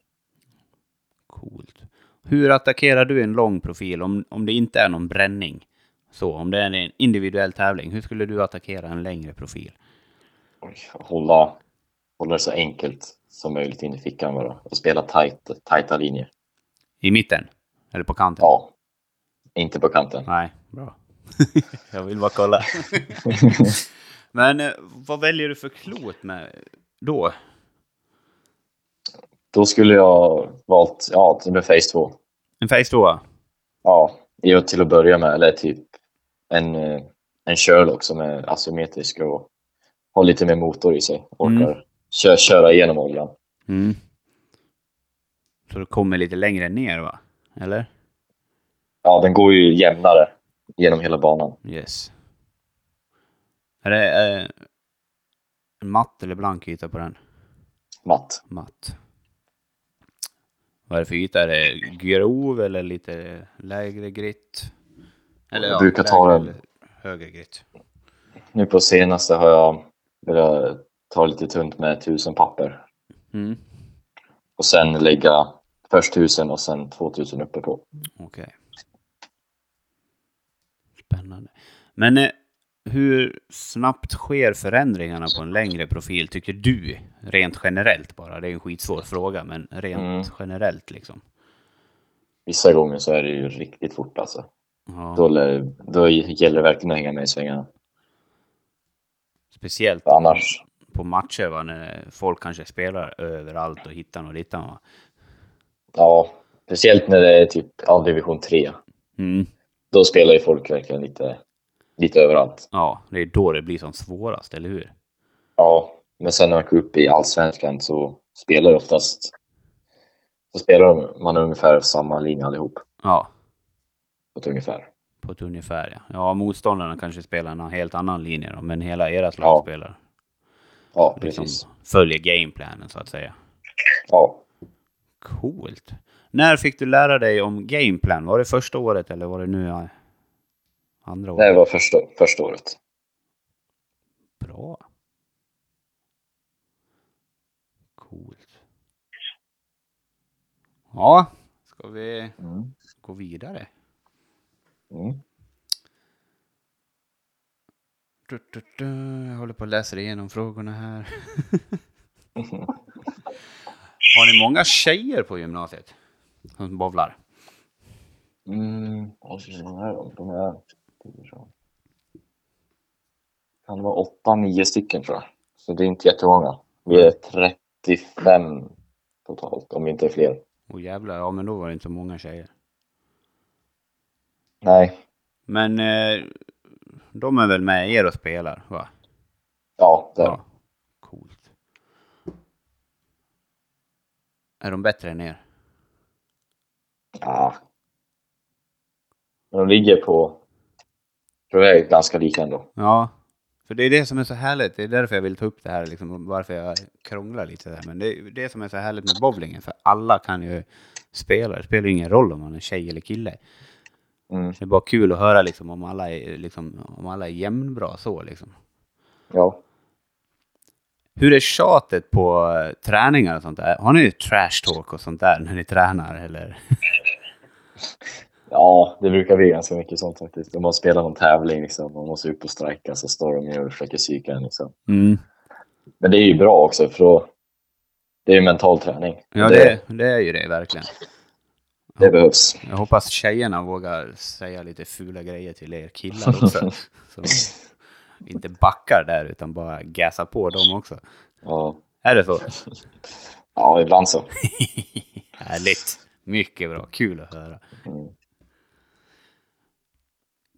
Speaker 2: Coolt. Hur attackerar du en lång profil om, om det inte är någon bränning? Så om det är en individuell tävling, hur skulle du attackera en längre profil?
Speaker 4: Oj, Hålla, hålla det så enkelt som möjligt in i fickan bara. Och spela tajt, tajta linjer.
Speaker 2: I mitten? Eller på kanten?
Speaker 4: Ja, inte på kanten.
Speaker 2: Nej, bra. [laughs] jag vill bara
Speaker 4: [laughs]
Speaker 2: kolla. Men eh, vad väljer du för klot med då?
Speaker 4: Då skulle jag valt ja, till och med Phase 2.
Speaker 2: En face 2?
Speaker 4: Ja, jag till att börja med, eller typ en, eh, en Sherlock som är asymmetrisk och har lite mer motor i sig. Orkar
Speaker 2: Mm.
Speaker 4: kö- köra igenom oljan.
Speaker 2: Mm. Så du kommer lite längre ner va? Eller?
Speaker 4: Ja, den går ju jämnare genom hela banan.
Speaker 2: Yes. Är det eh, en matt eller blank yta på den?
Speaker 4: Matt.
Speaker 2: Matt. Vad är det för yta? Är det grov eller lite lägre grit?
Speaker 4: Jag brukar ta
Speaker 2: lägre
Speaker 4: den.
Speaker 2: eller Högre grit.
Speaker 4: Nu på senaste har jag velat ta lite tunt med tusen papper
Speaker 2: Mm.
Speaker 4: och sen lägga först tusen och sen 2000 uppe på.
Speaker 2: Okej. Spännande. Men eh, hur snabbt sker förändringarna på en längre profil, tycker du? Rent generellt bara. Det är en skitsvår fråga, men rent
Speaker 4: Mm.
Speaker 2: generellt liksom.
Speaker 4: Vissa gånger så är det ju riktigt fort alltså.
Speaker 2: Ja,
Speaker 4: Då, lär- då gäller det verkligen att hänga med i svängarna.
Speaker 2: speciellt
Speaker 4: För annars,
Speaker 2: på matcher va, när folk kanske spelar överallt och hittar och dittan va.
Speaker 4: ja, speciellt när det är typ ja, division 3.
Speaker 2: Mm.
Speaker 4: Då spelar ju folk verkligen lite, lite överallt.
Speaker 2: Ja, det är då det blir som svårast, eller hur?
Speaker 4: Ja, men sen när man går upp i allsvenskan så spelar det oftast så spelar de- man ungefär samma linje allihop.
Speaker 2: Ja,
Speaker 4: På ett ungefär.
Speaker 2: på ett ungefär ja. Ja, motståndarna kanske spelar en helt annan linje då, men hela era lag
Speaker 4: Ja,
Speaker 2: spelar.
Speaker 4: Ja,
Speaker 2: Liksom
Speaker 4: precis.
Speaker 2: följer gameplanen så att säga.
Speaker 4: Ja.
Speaker 2: Coolt. När fick du lära dig om gameplan? Var det första året eller var det nu ja, andra året?
Speaker 4: Det var första, första året.
Speaker 2: Bra. Coolt. Ja, ska vi
Speaker 4: Mm.
Speaker 2: gå vidare?
Speaker 4: Mm.
Speaker 2: Du, du, du. Jag håller på att läsa igenom frågorna här. [laughs] Har ni många tjejer på gymnasiet? Som bowlar?
Speaker 4: Mm. Och så de här då, de är... Kan det vara åtta, nio stycken tror jag. Så det är inte jättemånga. Vi är 35 totalt, om inte fler.
Speaker 2: Åh jävlar, ja men då var det inte så många tjejer.
Speaker 4: Nej,
Speaker 2: Men eh, de är väl med er och spelar, va?
Speaker 4: ja, där.
Speaker 2: Ja. Coolt. Är de bättre än er?
Speaker 4: Ja. Men de ligger på... Tror jag är ganska lika ändå.
Speaker 2: Ja. För det är det som är så härligt. Det är därför jag vill ta upp det här, liksom, varför jag krånglar lite där. Men det är det som är så härligt med bowlingen, för alla kan ju spela. Det spelar ju ingen roll om man är tjej eller kille.
Speaker 4: Mm.
Speaker 2: Det är bara kul att höra liksom, om alla är, liksom, om alla är jämnbra så liksom.
Speaker 4: Ja.
Speaker 2: Hur är tjatet på eh, träningar och sånt där? Har ni trash talk och sånt där när ni tränar? Eller? [laughs]
Speaker 4: Ja, det brukar bli ganska mycket sånt faktiskt. Om man spelar någon tävling, liksom, man måste upp och strejka, så står de ju och försöker psyka en. Liksom.
Speaker 2: Mm.
Speaker 4: Men det är ju bra också, för då, det är ju mental träning.
Speaker 2: Ja, det, det är ju det verkligen.
Speaker 4: det behövs.
Speaker 2: Jag hoppas tjejerna vågar säga lite fula grejer till er killar också. så de inte backar där utan bara gasar på dem också.
Speaker 4: Ja,
Speaker 2: Är det så? [laughs]
Speaker 4: ja ibland så.
Speaker 2: Härligt! Mycket bra, kul att höra.
Speaker 4: Mm.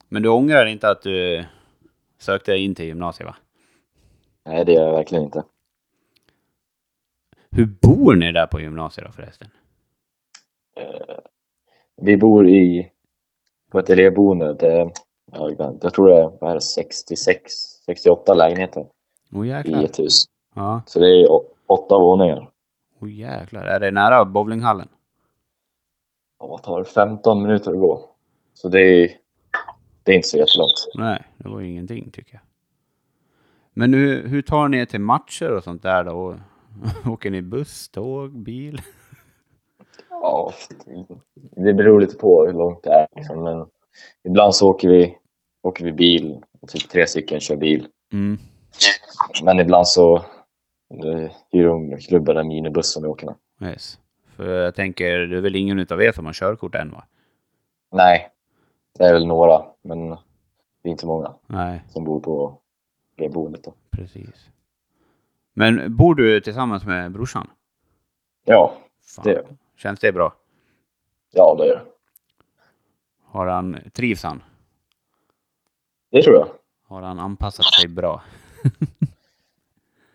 Speaker 2: Men du ångrar inte att du sökte in till gymnasiet va?
Speaker 4: Nej, det gör jag verkligen inte.
Speaker 2: Hur bor ni där på gymnasiet då förresten?
Speaker 4: Eh, Vi bor i, på ett elevboende. Det, ja, ibland- jag tror det är, vad är det, 66, 68 lägenheter
Speaker 2: Åh
Speaker 4: i
Speaker 2: jäklar.
Speaker 4: ett hus.
Speaker 2: Ja,
Speaker 4: Så det är å- åtta våningar.
Speaker 2: åh jäklar. Är det nära bowlinghallen?
Speaker 4: Och vad tar det? 15 minuter att gå. Så det är, det är inte så jättelångt.
Speaker 2: Nej, det var ju ingenting tycker jag. Men hur, hur tar ni er till matcher och [laughs] sånt där då? Åker ni buss, tåg, bil?
Speaker 4: Ja, det beror lite på hur långt det är. Liksom. Men ibland så åker vi, åker vi bil, typ tre stycken kör bil.
Speaker 2: Mm.
Speaker 4: Men ibland så eh, hyr de klubbar där minibussen och åker med.
Speaker 2: Yes. För jag tänker, det är väl ingen utav er som har körkort än va?
Speaker 4: Nej, det är väl några, men det är inte många
Speaker 2: Nej,
Speaker 4: som bor på det boendet. Då.
Speaker 2: precis. Men bor du tillsammans med brorsan?
Speaker 4: Ja,
Speaker 2: Fan.
Speaker 4: Det gör
Speaker 2: Känns det bra?
Speaker 4: ja, det gör det.
Speaker 2: Har han, trivs han?
Speaker 4: Det tror jag.
Speaker 2: Har han anpassat sig bra? [laughs]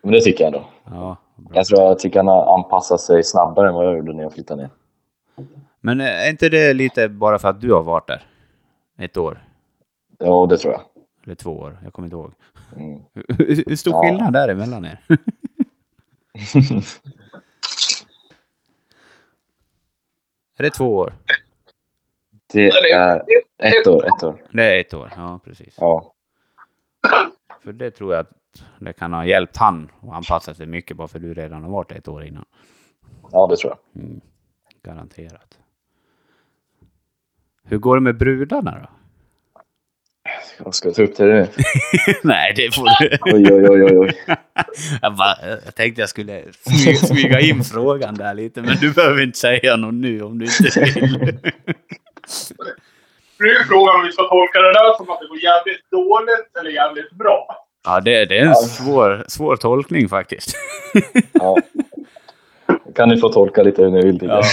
Speaker 4: Men det tycker jag ändå.
Speaker 2: Ja, bra.
Speaker 4: Jag tror jag tycker han har anpassat sig snabbare än vad jag gjorde när jag flyttade ner.
Speaker 2: Men eh, är inte det lite bara för att du har varit där? Ett år?
Speaker 4: Ja, det tror jag.
Speaker 2: Eller två år? Jag kommer inte ihåg.
Speaker 4: Mm.
Speaker 2: Hur hur stor
Speaker 4: Ja.
Speaker 2: skillnad är det mellan [laughs] er? är det två år?
Speaker 4: Det är ett år, ett år.
Speaker 2: Det är ett år, ja precis.
Speaker 4: Ja,
Speaker 2: För det tror jag att det kan ha hjälpt han att anpassa sig mycket bara för du redan har varit ett år innan.
Speaker 4: ja det tror jag.
Speaker 2: Mm. Garanterat. Hur går det med brudarna då?
Speaker 4: Jag ska ta upp det nu.
Speaker 2: [laughs] Nej, det får du...
Speaker 4: Oj, oj, oj, oj, oj.
Speaker 2: Jag, bara, jag tänkte jag skulle smy, smyga in frågan där lite, men du behöver inte säga något nu om du inte vill.
Speaker 3: Nu är frågan om vi ska tolka det där som att det går jävligt dåligt eller jävligt bra.
Speaker 2: Ja, det, det är en svår, svår tolkning faktiskt.
Speaker 4: Ja. Kan ni få tolka lite hur ni
Speaker 2: [laughs]
Speaker 4: vill. tycker jag.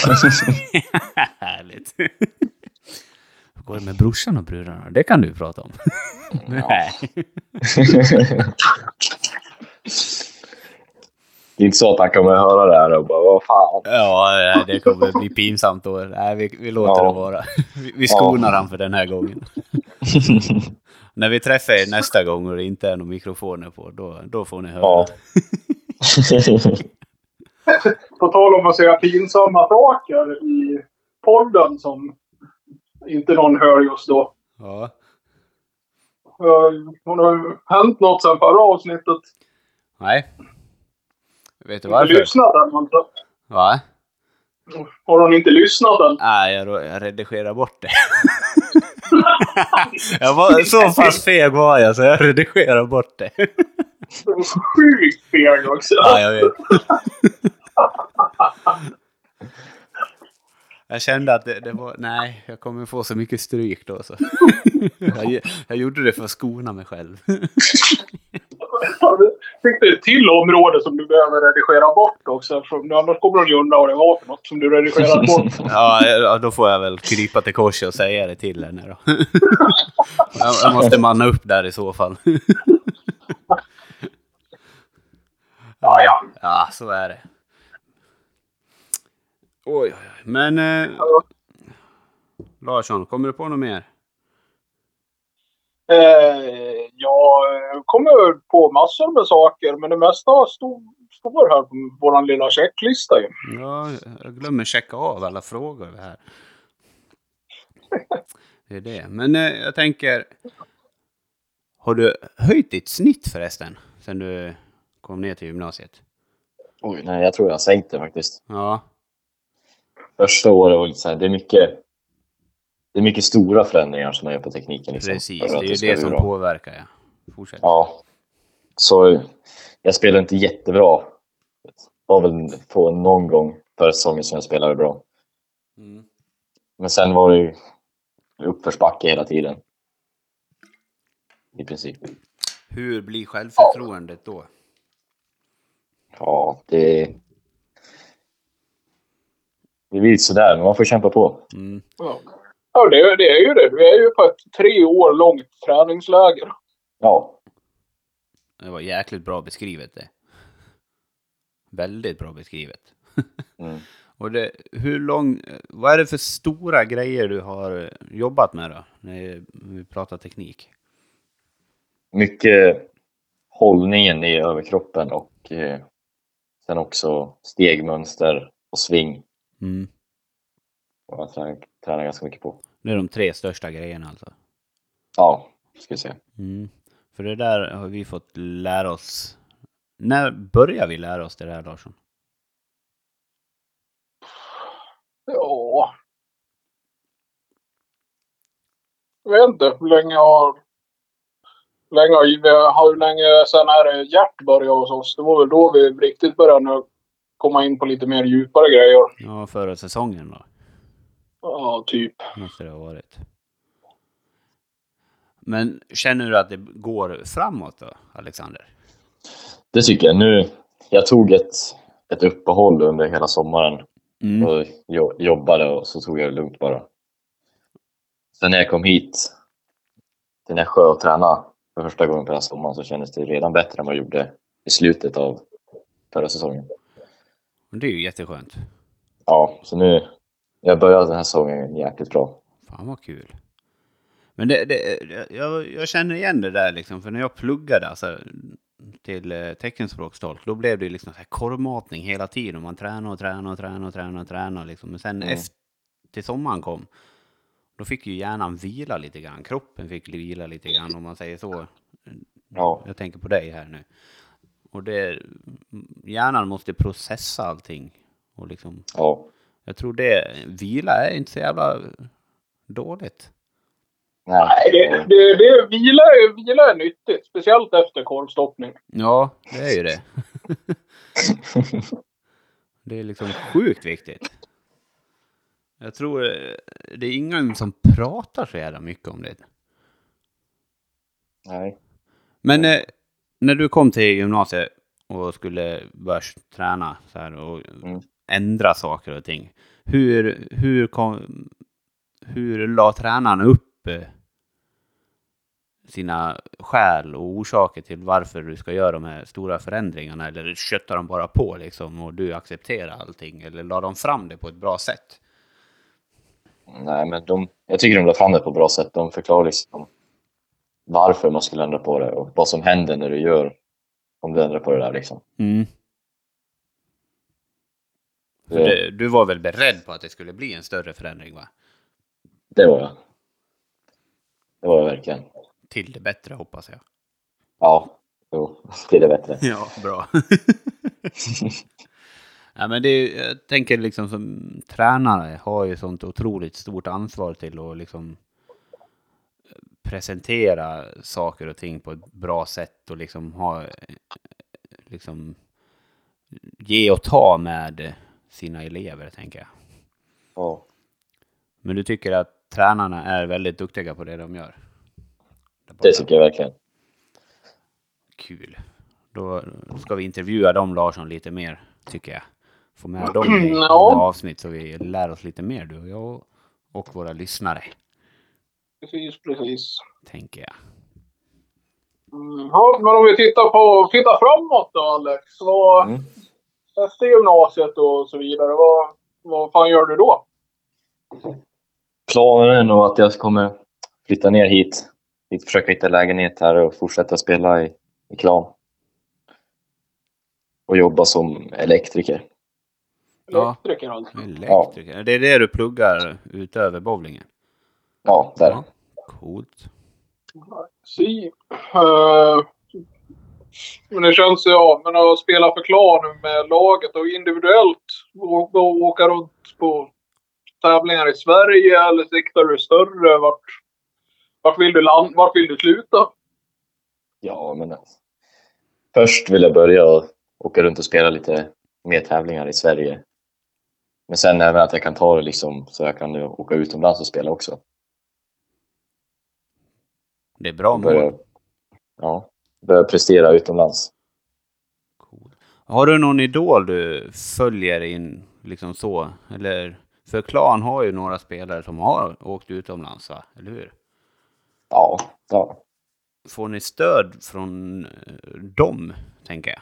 Speaker 2: Härligt. Hur går det med brorsan och brudarna? Det kan du prata om. Nej.
Speaker 4: Det är inte så att han kommer höra det här och bara vad fan.
Speaker 2: Ja, nej, det kommer bli pinsamt då. Nej, vi, vi låter
Speaker 4: Ja.
Speaker 2: det vara. Vi, vi skonar han för den här gången. När vi träffar er nästa gång och det inte är några mikrofoner på, då, då får ni höra.
Speaker 4: Ja.
Speaker 3: På tal om att säga pinsamma saker i podden som inte någon hör just då.
Speaker 2: Ja.
Speaker 3: Eh, Har det hänt något sen förra avsnittet?
Speaker 2: Nej. Vet du
Speaker 3: Inte
Speaker 2: varför?
Speaker 3: lyssnat än alltså.
Speaker 2: Va?
Speaker 3: Har hon inte lyssnat
Speaker 2: [laughs]
Speaker 3: än?
Speaker 2: Nej, jag, jag redigerar bort det. jag var, så pass feg var jag så jag redigerar bort det.
Speaker 3: Det var så sjukt feg också.
Speaker 2: Ja, jag vet. Jag kände att det, det var, nej, jag kommer få så mycket stryk då så. Jag, ge- jag gjorde det för att skona mig själv.
Speaker 3: Fick du ett till område som du behöver redigera bort också? För annars kommer de ju undra vad det var för något som du redigerat bort.
Speaker 2: [laughs] Ja, ja, då får jag väl krypa till korset och säga det till henne då. Jag, jag måste manna upp där i så fall.
Speaker 3: Ja, ja.
Speaker 2: Ja, så är det. Oj, oj, oj. Men eh, Larsson, kommer du på något mer?
Speaker 3: Eh, jag kommer på massor med saker, men det mesta stod, står här på vår lilla checklista. ju.
Speaker 2: Ja, jag glömmer checka av alla frågor här. Det är det. Men eh, jag tänker... Har du höjt ditt snitt förresten? Sen du kom ner till gymnasiet?
Speaker 4: Oj, nej, jag tror jag har sänkt det faktiskt.
Speaker 2: Ja,
Speaker 4: Första året var lite så här, det är mycket, det är mycket stora förändringar som man gör på tekniken. Liksom,
Speaker 2: precis.
Speaker 4: för
Speaker 2: Det
Speaker 4: att
Speaker 2: är ju
Speaker 4: ska
Speaker 2: det
Speaker 4: bli
Speaker 2: som
Speaker 4: bra.
Speaker 2: påverkar. Ja. Fortsätt.
Speaker 4: Ja. Så jag spelade inte jättebra. Var väl på någon gång förra säsongen som jag spelade bra.
Speaker 2: Mm.
Speaker 4: Men sen var det ju uppförsbacke hela tiden. I princip.
Speaker 2: Hur blir självförtroendet då?
Speaker 4: Ja, det... Det blir sådär, men man får kämpa på.
Speaker 2: Mm.
Speaker 3: Ja, ja det, är- det är ju det. Vi är ju på ett tre år långt träningsläger.
Speaker 4: Ja,
Speaker 2: Det var jäkligt bra beskrivet det. Väldigt bra beskrivet. [laughs]
Speaker 4: mm.
Speaker 2: Och det, hur lång, vad är det för stora grejer du har jobbat med då? När vi pratar teknik.
Speaker 4: mycket hållningen i överkroppen och eh, sen också stegmönster och sving.
Speaker 2: Mm.
Speaker 4: Och jag tränar, tränar ganska mycket på.
Speaker 2: Det är de tre största grejerna alltså.
Speaker 4: Ja, ska vi se.
Speaker 2: Mm. För det där har vi fått lära oss. När börjar vi lära oss det där Larsson?
Speaker 3: Ja. Jag vet inte hur länge har... hur Länge har, vi har hur länge sen är det Gert började hos oss? Det var väl då vi riktigt började nu komma in på lite mer djupare grejer.
Speaker 2: Ja, förra säsongen då.
Speaker 3: Ja, typ.
Speaker 2: Måste det ha varit. Men känner du att det går framåt då, Alexander?
Speaker 4: Det tycker jag. Nu, jag tog ett, ett uppehåll under hela sommaren
Speaker 2: Mm.
Speaker 4: och jo, jobbade och så tog jag det lugnt bara. Sen när jag kom hit till Nässjö och tränade för första gången på den här sommaren så kändes det redan bättre än vad jag gjorde i slutet av förra säsongen.
Speaker 2: Det är ju jätteskönt.
Speaker 4: Ja, så nu... Jag började den här säsongen jäkligt bra.
Speaker 2: Fan vad kul. Men det, det, det- jag, jag känner igen det där liksom, för när jag pluggade alltså, till eh, teckenspråkstolk, då blev det ju liksom så här korvmatning hela tiden. Man tränade och tränade och tränade och tränade och tränade liksom. Men sen
Speaker 4: Mm.
Speaker 2: efter, till sommaren kom, då fick ju hjärnan vila lite grann. Kroppen fick vila lite grann om man säger så.
Speaker 4: Ja.
Speaker 2: Jag tänker på dig här nu. Och det, hjärnan måste processa allting. Och liksom,
Speaker 4: Ja.
Speaker 2: jag tror det, vila är inte så jävla dåligt.
Speaker 3: Nej, det, det, det, vila, är- vila är nyttigt. Speciellt efter korvstoppning.
Speaker 2: Ja, det är ju det. det är liksom sjukt viktigt. Jag tror eh, det är ingen som pratar så jävla mycket om det.
Speaker 4: [laughs] Nej.
Speaker 2: Men eh, när du kom till gymnasiet och skulle börja träna så här och
Speaker 4: Mm.
Speaker 2: ändra saker och ting. Hur, hur, kom, hur la tränaren upp eh, sina skäl och orsaker till varför du ska göra de här stora förändringarna? Eller köttar de bara på liksom och du accepterar allting? Eller la de fram det på ett bra sätt?
Speaker 4: Nej, men de, jag tycker de la fram det på ett bra sätt. De förklarar liksom varför man skulle ändra på det och vad som händer när du gör om du ändrar på det där. Liksom.
Speaker 2: För
Speaker 4: Det-
Speaker 2: Du, du var väl beredd på att det skulle bli en större förändring va?
Speaker 4: Det var jag. Det var jag verkligen.
Speaker 2: Till det bättre hoppas jag.
Speaker 4: Ja, jo, [laughs] det är det bättre.
Speaker 2: Ja, bra. ja, men det är, ju- jag tänker liksom som tränare har ju sånt otroligt stort ansvar till att liksom eh, presentera saker och ting på ett bra sätt och liksom ha eh, liksom ge och ta med sina elever tänker jag.
Speaker 4: Ja.
Speaker 2: Men du tycker att tränarna är väldigt duktiga på det de gör? Där borta.
Speaker 4: [laughs] Det tycker jag verkligen.
Speaker 2: Kul. Då ska vi intervjua dem Larsson lite mer, tycker jag. Få med dem i
Speaker 3: Ja.
Speaker 2: några avsnitt så vi lär oss lite mer du och jag och våra lyssnare,
Speaker 3: Precis, precis.
Speaker 2: tänker jag.
Speaker 3: Mm, Ja, men om vi tittar, på, tittar framåt då, Alex. Vad,
Speaker 4: Mm.
Speaker 3: Efter gymnasiet och så vidare, vad, vad fan gör du då?
Speaker 4: Planen är nog att jag kommer flytta ner hit. hit försöka hitta lägenhet här och fortsätta spela i, i klan. Och jobba som elektriker.
Speaker 2: Ja.
Speaker 3: Elektriker alltså.
Speaker 2: Elektriker. Det är det du pluggar utöver bowlingen?
Speaker 4: Ja, där.
Speaker 2: Coolt.
Speaker 3: Si. Eh, Men det känns, ja, men att spela för klan med laget och individuellt och, och åka runt på tävlingar i Sverige eller siktar du större? Vart, vart, vill, du land, vart vill du sluta?
Speaker 4: Ja, men alltså, först vill jag börja och åka runt och spela lite mer tävlingar i Sverige. Men sen även att jag kan ta det liksom så jag kan ju åka utomlands och spela också.
Speaker 2: Det är bra
Speaker 4: Och börja,
Speaker 2: mål.
Speaker 4: ja, börja prestera utomlands.
Speaker 2: Cool. Har du någon idol du följer in liksom så? Eller? För Klan har ju några spelare som har åkt utomlands, va? eller hur?
Speaker 4: Ja, ja.
Speaker 2: Får ni stöd från eh, dem, tänker jag?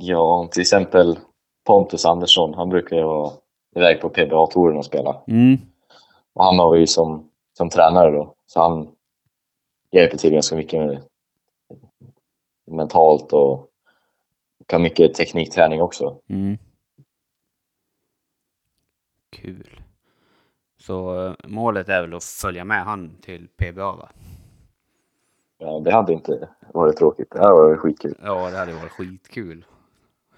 Speaker 4: ja till exempel Pontus Andersson, han brukar ju vara iväg på PBA-touren och spela.
Speaker 2: Mm.
Speaker 4: Och han har vi ju som, som tränare då, så han hjälper till ganska mycket med mentalt och kan mycket teknikträning också.
Speaker 2: Mm. Kul. Så eh, målet är väl att följa med han till PBA, va?
Speaker 4: Ja, det hade inte varit tråkigt. Det här var skitkul.
Speaker 2: Ja, det hade varit skitkul.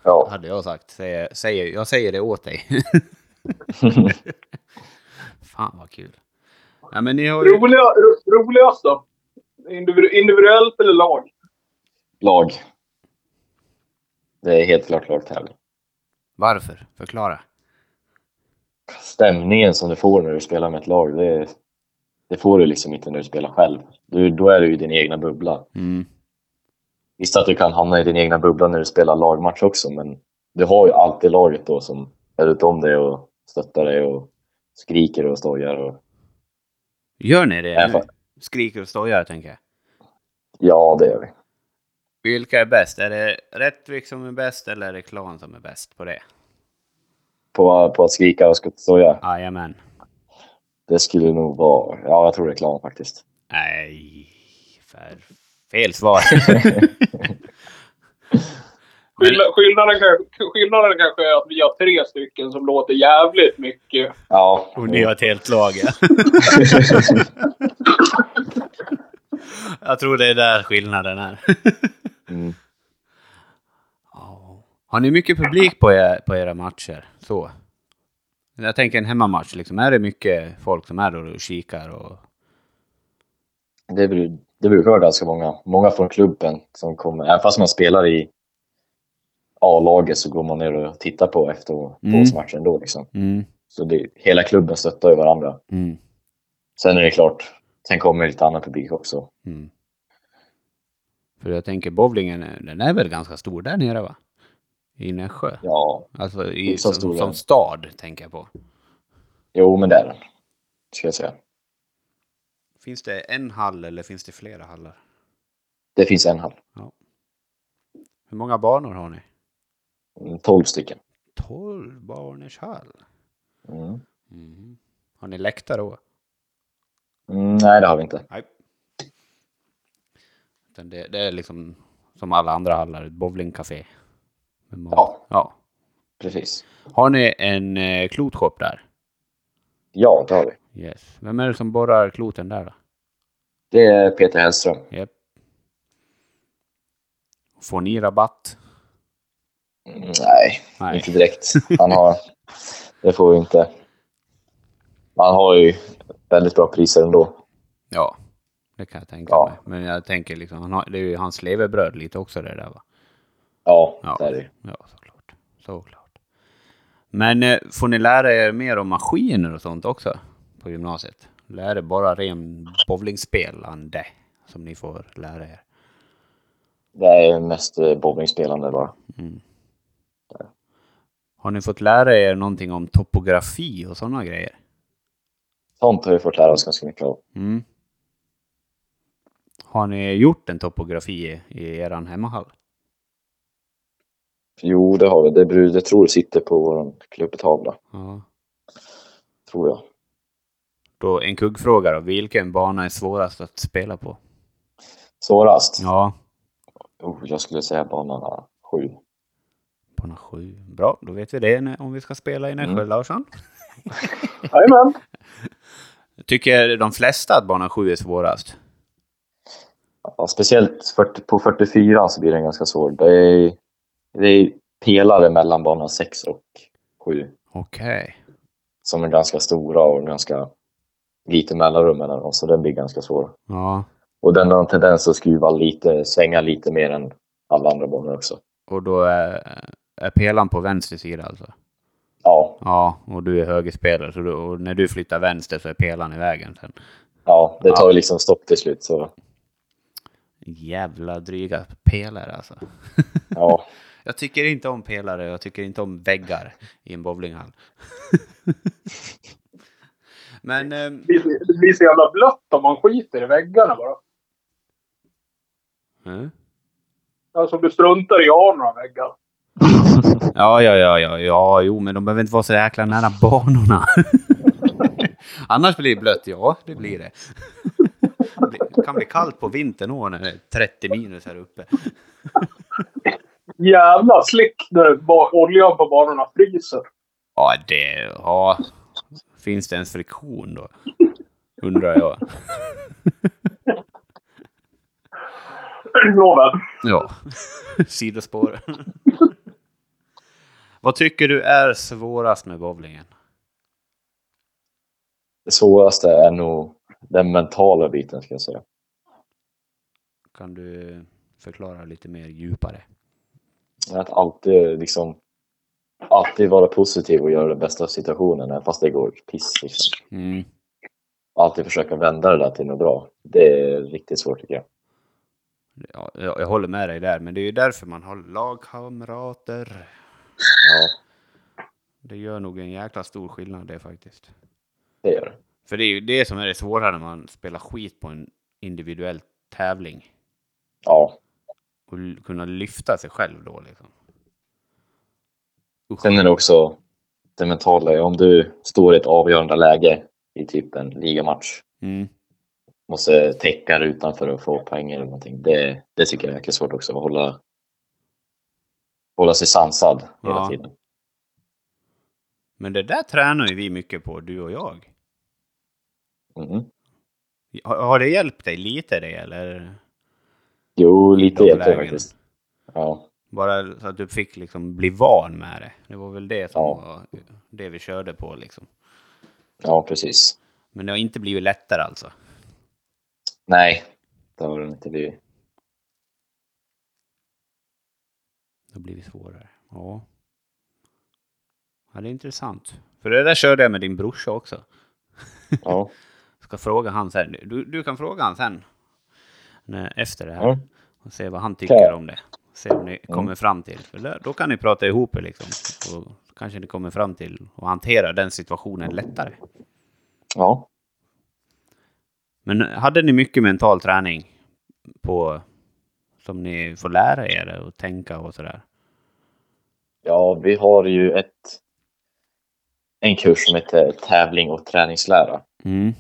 Speaker 4: Ja.
Speaker 2: Hade jag sagt. Säger, säger, jag säger det åt [laughs] dig. Fan vad kul. Ja, men ni har ju...
Speaker 3: Roliga, ro, roligast då? Individu- Individuellt eller lag?
Speaker 4: Lag. Det är helt klart lagtävling.
Speaker 2: Varför? Förklara.
Speaker 4: Stämningen som du får när du spelar med ett lag, det, det får du liksom inte när du spelar själv. Du, då är du i din egna bubbla.
Speaker 2: Mm.
Speaker 4: Visst att du kan hamna i din egna bubbla när du spelar lagmatch också, men du har ju alltid laget då som är runt om dig och stöttar dig och skriker och stojar. Och...
Speaker 2: Gör ni det
Speaker 4: Ja,
Speaker 2: nu?
Speaker 4: fan.
Speaker 2: Skriker och stojar, tänker jag.
Speaker 4: Ja, det gör vi.
Speaker 2: Vilka är bäst? Är det Rättvik som är bäst eller är det Klan som är bäst på det?
Speaker 4: På, på att skrika och skottstoja,
Speaker 2: Jajamän.
Speaker 4: det skulle nog vara... Ja, jag tror det är klan faktiskt.
Speaker 2: Nej, för fel svar.
Speaker 3: Skill- Skillnaden, kanske- skillnaden kanske är att vi har tre stycken som låter jävligt mycket.
Speaker 4: Ja.
Speaker 2: Och ni har ett helt lag, ja. Jag tror det är där skillnaden är. [laughs]
Speaker 4: Mm.
Speaker 2: Ja. Har ni mycket publik på, er, på era matcher? Så. Jag tänker en hemmamatch, liksom. är det mycket folk som är där och kikar? Och...
Speaker 4: Det, bru- det brukar vara ganska många. Många från klubben som kommer. Även fast man spelar i A-laget så går man ner och tittar på efter
Speaker 2: Mm.
Speaker 4: matchen då. Liksom. Så det, hela klubben stöttar ju varandra.
Speaker 2: mm,
Speaker 4: Sen är det klart, sen kommer lite annan publik också.
Speaker 2: Mm. För jag tänker bowlingen, den är väl ganska stor där nere va? I Nässjö?
Speaker 4: Ja,
Speaker 2: Alltså i,
Speaker 4: Inte så
Speaker 2: som,
Speaker 4: stor,
Speaker 2: som
Speaker 4: ja.
Speaker 2: stad tänker jag på.
Speaker 4: jo men det är den. Ska jag säga.
Speaker 2: Finns det en hall eller finns det flera hallar?
Speaker 4: Det finns en hall.
Speaker 2: Hur många banor har ni?
Speaker 4: Mm, 12 stycken.
Speaker 2: 12 barners hall.
Speaker 4: Mm.
Speaker 2: Mm. Har ni läktare då?
Speaker 4: Mm, nej, det har vi inte.
Speaker 2: Nej. Utan det, det är liksom som alla andra hallar, ett bowlingcafé. Med mat.
Speaker 4: Ja.
Speaker 2: ja.
Speaker 4: Precis.
Speaker 2: Har ni en eh, klotshop där?
Speaker 4: Ja, det har vi.
Speaker 2: Yes. Vem är det som borrar kloten där då?
Speaker 4: Det är Peter Hellström.
Speaker 2: Japp. Får ni rabatt?
Speaker 4: Mm, nej,
Speaker 2: Nej.
Speaker 4: inte direkt. Han har... det får vi inte. Han har ju väldigt bra priser ändå.
Speaker 2: Ja, det kan jag tänka
Speaker 4: Ja.
Speaker 2: mig. Men jag tänker liksom, han har, det är ju hans levebröd lite också det där va?
Speaker 4: Ja,
Speaker 2: Ja,
Speaker 4: det är det ju.
Speaker 2: ja såklart. såklart. Men eh, får ni lära er mer om maskiner och sånt också på gymnasiet? Lär er bara ren bowlingspelande som ni får lära er.
Speaker 4: Det är ju mest eh, bowlingspelande bara.
Speaker 2: Mm. Har ni fått lära er någonting om topografi och sådana grejer?
Speaker 4: Sånt har vi fått lära oss ganska mycket av.
Speaker 2: Mm. Har ni gjort en topografi i, i eran hemmahall?
Speaker 4: Jo, det har vi. Det, bru- det tror jag sitter på vår klubbtavla.
Speaker 2: Ja.
Speaker 4: Tror jag.
Speaker 2: Då en kuggfråga då. Vilken bana är svårast att spela på?
Speaker 4: Svårast?
Speaker 2: Ja,
Speaker 4: Oh, jag skulle säga banan 7.
Speaker 2: bana sju. Bra, då vet vi det när- om vi ska spela i Nässjö,
Speaker 4: Mm.
Speaker 2: Larsson.
Speaker 3: Jajamän.
Speaker 2: Tycker de flesta att bana sju är svårast?
Speaker 4: Ja, speciellt 40, på 44 så blir den ganska svår. Det är, det är pelare mellan bana 6 och 7
Speaker 2: Okej.
Speaker 4: som är ganska stora och ganska lite mellanrum mellan dem, så den blir ganska svår.
Speaker 2: Ja.
Speaker 4: Och den har en tendens att skruva lite, svänga lite mer än alla andra banor också.
Speaker 2: Och då är, är pelaren på vänster sida alltså?
Speaker 4: Ja,
Speaker 2: Ja, och du är högerspelare. Så du, och när du flyttar vänster så är pelaren i vägen sen.
Speaker 4: ja det tar ju liksom stopp till slut. Så,
Speaker 2: Jävla dryga pelare alltså. [laughs]
Speaker 4: ja.
Speaker 2: Jag tycker inte om pelare och jag tycker inte om väggar i en bowlinghall. [laughs] Men... ehm,
Speaker 3: Det blir- Det blir så jävla blött om man skiter i väggarna bara.
Speaker 2: mm.
Speaker 3: Alltså du struntar i att ha några väggar.
Speaker 2: Ja, ja, ja, ja, ja, jo, men de behöver inte vara så jäkla nära [laughs] banorna. Annars blir det blött, ja, det blir det. Det kan bli kallt på vintern också när det är 30 minus här uppe.
Speaker 3: Jävla slick när ba- oljan på banorna fryser. [clears throat]
Speaker 2: Ja, det... Ja. Finns det ens friktion då? Undrar jag.
Speaker 3: Nåväl.
Speaker 2: [laughs] Ja. Sidospår. Vad tycker du är svårast med bowlingen?
Speaker 4: Det svåraste är nog den mentala biten, ska jag säga.
Speaker 2: Kan du förklara lite mer djupare?
Speaker 4: Att alltid, liksom, alltid vara positiv och göra det bästa av situationen, även fast det går piss. Liksom.
Speaker 2: Mm.
Speaker 4: Alltid försöka vända det där till något bra. Det är riktigt svårt tycker jag.
Speaker 2: Ja, jag, jag håller med dig där, men det är ju därför man har lagkamrater.
Speaker 4: Ja,
Speaker 2: Det gör nog en jäkla stor skillnad det faktiskt.
Speaker 4: det gör det.
Speaker 2: För det är ju det som är det svåra när man spelar skit på en individuell tävling.
Speaker 4: Ja.
Speaker 2: Och l- kunna lyfta sig själv då liksom. Usch.
Speaker 4: Sen är det också det mentala. Om du står i ett avgörande läge i typ en ligamatch,
Speaker 2: Mm.
Speaker 4: måste täcka rutan för att få poäng eller någonting. Det, det tycker jag är jäkligt svårt också. Att hålla, hålla sig sansad hela
Speaker 2: Ja.
Speaker 4: tiden.
Speaker 2: Men det där tränar ju vi mycket på, du och jag.
Speaker 4: Mhm.
Speaker 2: Har, har det hjälpt dig lite det eller?
Speaker 4: Jo, lite
Speaker 2: De
Speaker 4: hjälper det
Speaker 2: lägena?
Speaker 4: faktiskt. Ja.
Speaker 2: Bara så att du fick liksom bli van med det. Det var väl det som
Speaker 4: Ja.
Speaker 2: var det vi körde på liksom.
Speaker 4: ja, precis.
Speaker 2: Men det har inte blivit lättare alltså.
Speaker 4: Nej, det har det inte blivit.
Speaker 2: Det har blivit svårare. Ja. Ja, det är intressant. För det där körde jag med din brorsa också. [laughs]
Speaker 4: Ja.
Speaker 2: Ska fråga han sen. Du, du kan fråga han sen. När, efter det här.
Speaker 4: Ja.
Speaker 2: Och se vad han tycker
Speaker 4: Ja.
Speaker 2: om det. Se om ni kommer fram till. För där, då kan ni prata ihop er liksom. Och kanske ni kommer fram till att hantera den situationen lättare.
Speaker 4: ja.
Speaker 2: Men hade ni mycket mental träning på som ni får lära er och tänka och sådär?
Speaker 4: Ja, vi har ju ett, en kurs som heter tävling och träningslära.
Speaker 2: Mm.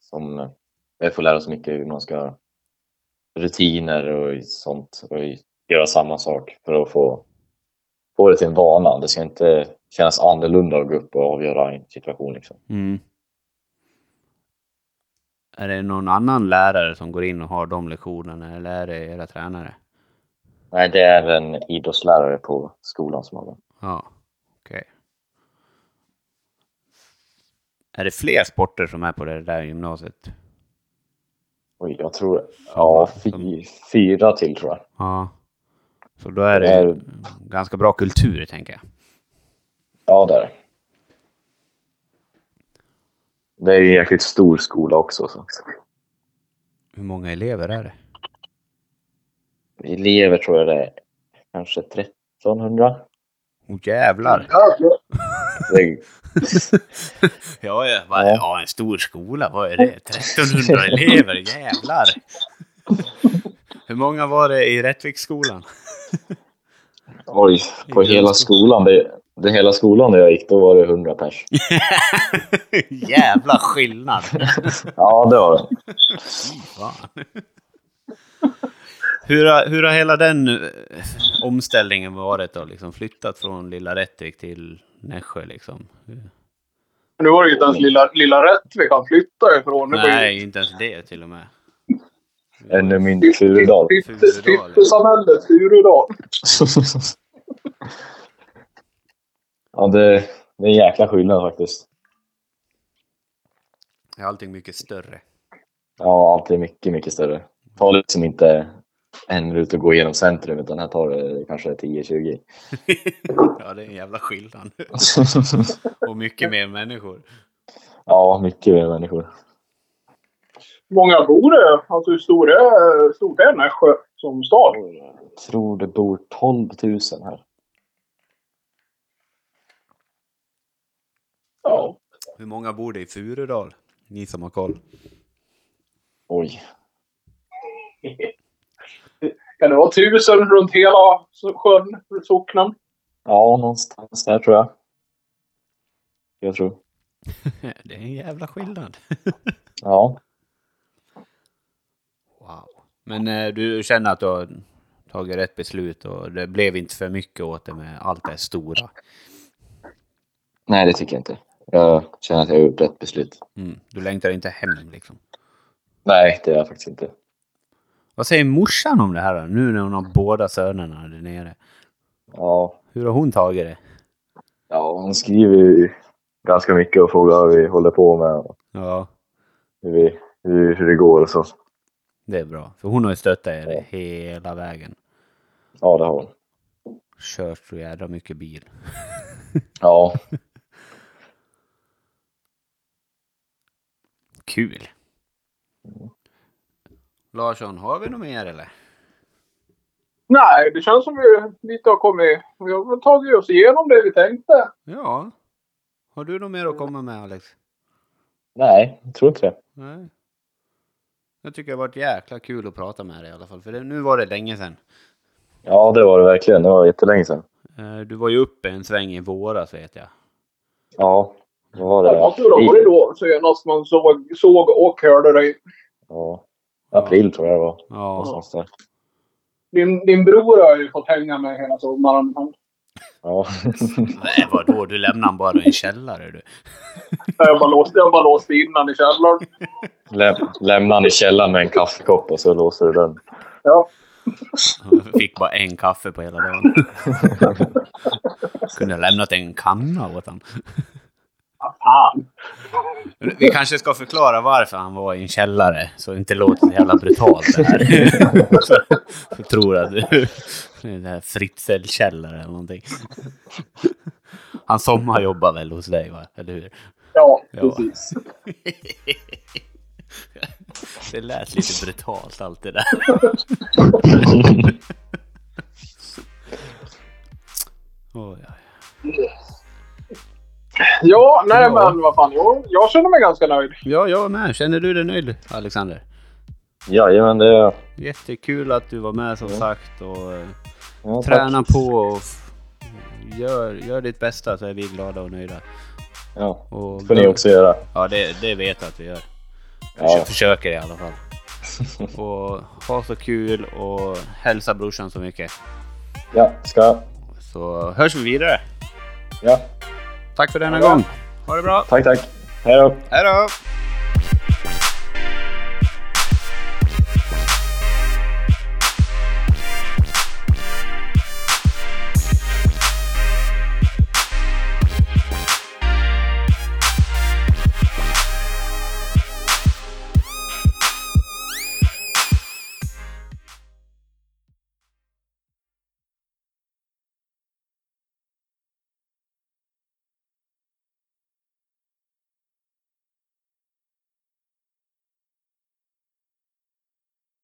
Speaker 4: Som jag får lära oss mycket hur man ska rutiner och sånt och göra samma sak för att få, få det till en vana. Det ska inte kännas annorlunda att gå upp och avgöra en situation. Liksom.
Speaker 2: Mm. Är det någon annan lärare som går in och har de lektionerna eller är det era tränare?
Speaker 4: Nej, det är en idrottslärare på skolan som har det.
Speaker 2: Ja, okej. Är det fler sporter som är på det där gymnasiet?
Speaker 4: Oj, jag tror... Ja, fy, fyra till tror jag.
Speaker 2: Ja. Så då är det
Speaker 4: Är-
Speaker 2: ganska bra kultur, tänker jag.
Speaker 4: Ja, det är det. Det är ju en jäkligt stor skola också. Så.
Speaker 2: Hur många elever är det?
Speaker 4: Elever tror jag det är kanske 1300.
Speaker 2: Åh jävlar!
Speaker 3: Jävlar.
Speaker 4: Det är
Speaker 2: [laughs] Ja, ja, vad- ja, en stor skola, vad är det? 1300 elever, jävlar! Hur många var det i Rättviksskolan? [laughs]
Speaker 4: Oj, på
Speaker 2: Inte
Speaker 4: hela
Speaker 2: ens-
Speaker 4: skolan. Det, det hela skolan där jag gick, då var det 100 pers.
Speaker 2: Jävla skillnad!
Speaker 4: Ja, det var det.
Speaker 2: Fy fan. Hur har, hur har hela den eh, omställningen varit då? Liksom flyttat från lilla Rättvik till Nässjö liksom?
Speaker 3: Nu var det ju inte ens lilla, lilla Rättvik han flyttade ifrån. Det var ju-
Speaker 2: Nej, inte ens det till och med.
Speaker 4: Ännu mindre Furudal.
Speaker 2: Furudal.
Speaker 3: Pyttesamhället Furudal.
Speaker 4: ja, det, det är en jäkla skillnad faktiskt.
Speaker 2: Är allting mycket större? [laughs]
Speaker 4: Ja, allt är mycket, mycket större. Ta liksom inte en minut att gå igenom centrum, utan här tar det kanske 10-20.
Speaker 2: ja, det är en jävla skillnad. Och mycket mer människor.
Speaker 4: [laughs] ja, mycket mer människor.
Speaker 3: Hur många bor det? Alltså hur stor är, stort är Nässjö som stad?
Speaker 4: Jag tror det bor 12 000 här.
Speaker 3: Ja.
Speaker 2: Hur många bor det i Furudal? Ni som har koll.
Speaker 4: Oj.
Speaker 3: Kan det vara tusen runt hela sjön, socknen?
Speaker 4: Ja, någonstans där tror jag. Jag tror.
Speaker 2: [laughs] det är en jävla skillnad.
Speaker 4: Ja.
Speaker 2: Wow. Men eh, du känner att du har tagit rätt beslut och det blev inte för mycket åt det med allt det här stora.
Speaker 4: Nej, det tycker jag inte. Jag känner att jag har gjort rätt beslut.
Speaker 2: Mm. Du längtar inte hem liksom.
Speaker 4: Nej, det är jag faktiskt inte.
Speaker 2: Vad säger morsan om det här då? Nu när hon har båda sönerna där nere.
Speaker 4: Ja,
Speaker 2: Hur har hon tagit det?
Speaker 4: Ja, hon skriver ju ganska mycket och frågar vad vi håller på med och
Speaker 2: Ja,
Speaker 4: hur, vi, hur, hur det går och så.
Speaker 2: det är bra. För hon har ju stöttat er hela vägen.
Speaker 4: Ja, det har hon.
Speaker 2: Kört så jävla mycket bil.
Speaker 4: Ja,
Speaker 2: Kul! Larsson, har vi något mer eller?
Speaker 3: Nej, det känns som vi lite har kommit... Vi har väl tagit oss igenom det vi tänkte.
Speaker 2: Ja. Har du något mer att komma med Alex?
Speaker 4: nej, jag tror inte det.
Speaker 2: Nej. Jag tycker det har varit jäkla kul att prata med dig i alla fall. För det, nu var det länge sedan.
Speaker 4: Ja, det var det verkligen. Det var jättelänge sedan.
Speaker 2: Eh, Du var ju uppe en sväng i våras vet jag.
Speaker 4: Ja, det var
Speaker 3: Det
Speaker 4: det.
Speaker 3: måste väl ha varit alltså, då senast man såg, såg och hörde dig.
Speaker 4: Ja, april tror jag det var.
Speaker 2: Ja.
Speaker 4: Någonstans där.
Speaker 3: Din, din bror har ju fått hänga med hela sommaren. Han-
Speaker 4: Ja. [laughs]
Speaker 2: Nej vadå, du lämnade han bara i en källare du.
Speaker 3: Jag bara låste, jag bara låste in han i källaren.
Speaker 4: Läm, lämnade han i källaren med en kaffekopp och så låser
Speaker 2: [laughs]
Speaker 4: du den.
Speaker 3: Ja.
Speaker 2: Han Fick bara en kaffe på hela dagen. Kunde ha lämnat en kanna åt han.
Speaker 3: Fan.
Speaker 2: Vi kanske ska förklara varför han var i en källare, så det inte låter så jävla brutalt det här. Jag tror att det är det här Fritzl-källare eller någonting. Han sommarjobbar väl hos dig, va? eller hur?
Speaker 3: Ja,
Speaker 2: Ja.
Speaker 3: precis.
Speaker 2: Det lät lite brutalt allt det där. Oj, oj.
Speaker 3: Ja, nej men vad fan. Jag, jag känner mig ganska nöjd.
Speaker 2: Ja, jag med. Känner du dig nöjd, Alexander?
Speaker 4: Jajamän, det... Ja,
Speaker 2: Jättekul att du var med som sagt. Och, eh,
Speaker 4: tack.
Speaker 2: Träna på och f- gör, gör ditt bästa så är vi glada och nöjda.
Speaker 4: Ja,
Speaker 2: Och
Speaker 4: det får ni också göra.
Speaker 2: Ja, det, det vet jag att vi gör. Jag
Speaker 4: Ja.
Speaker 2: försöker i alla fall. Och ha så kul och hälsa brorsan så mycket.
Speaker 4: [laughs] Ja, ska jag.
Speaker 2: Så hörs vi vidare.
Speaker 4: Ja,
Speaker 2: Tack för denna gång. Ha det bra.
Speaker 4: tack, tack. Hej då.
Speaker 2: Hej då!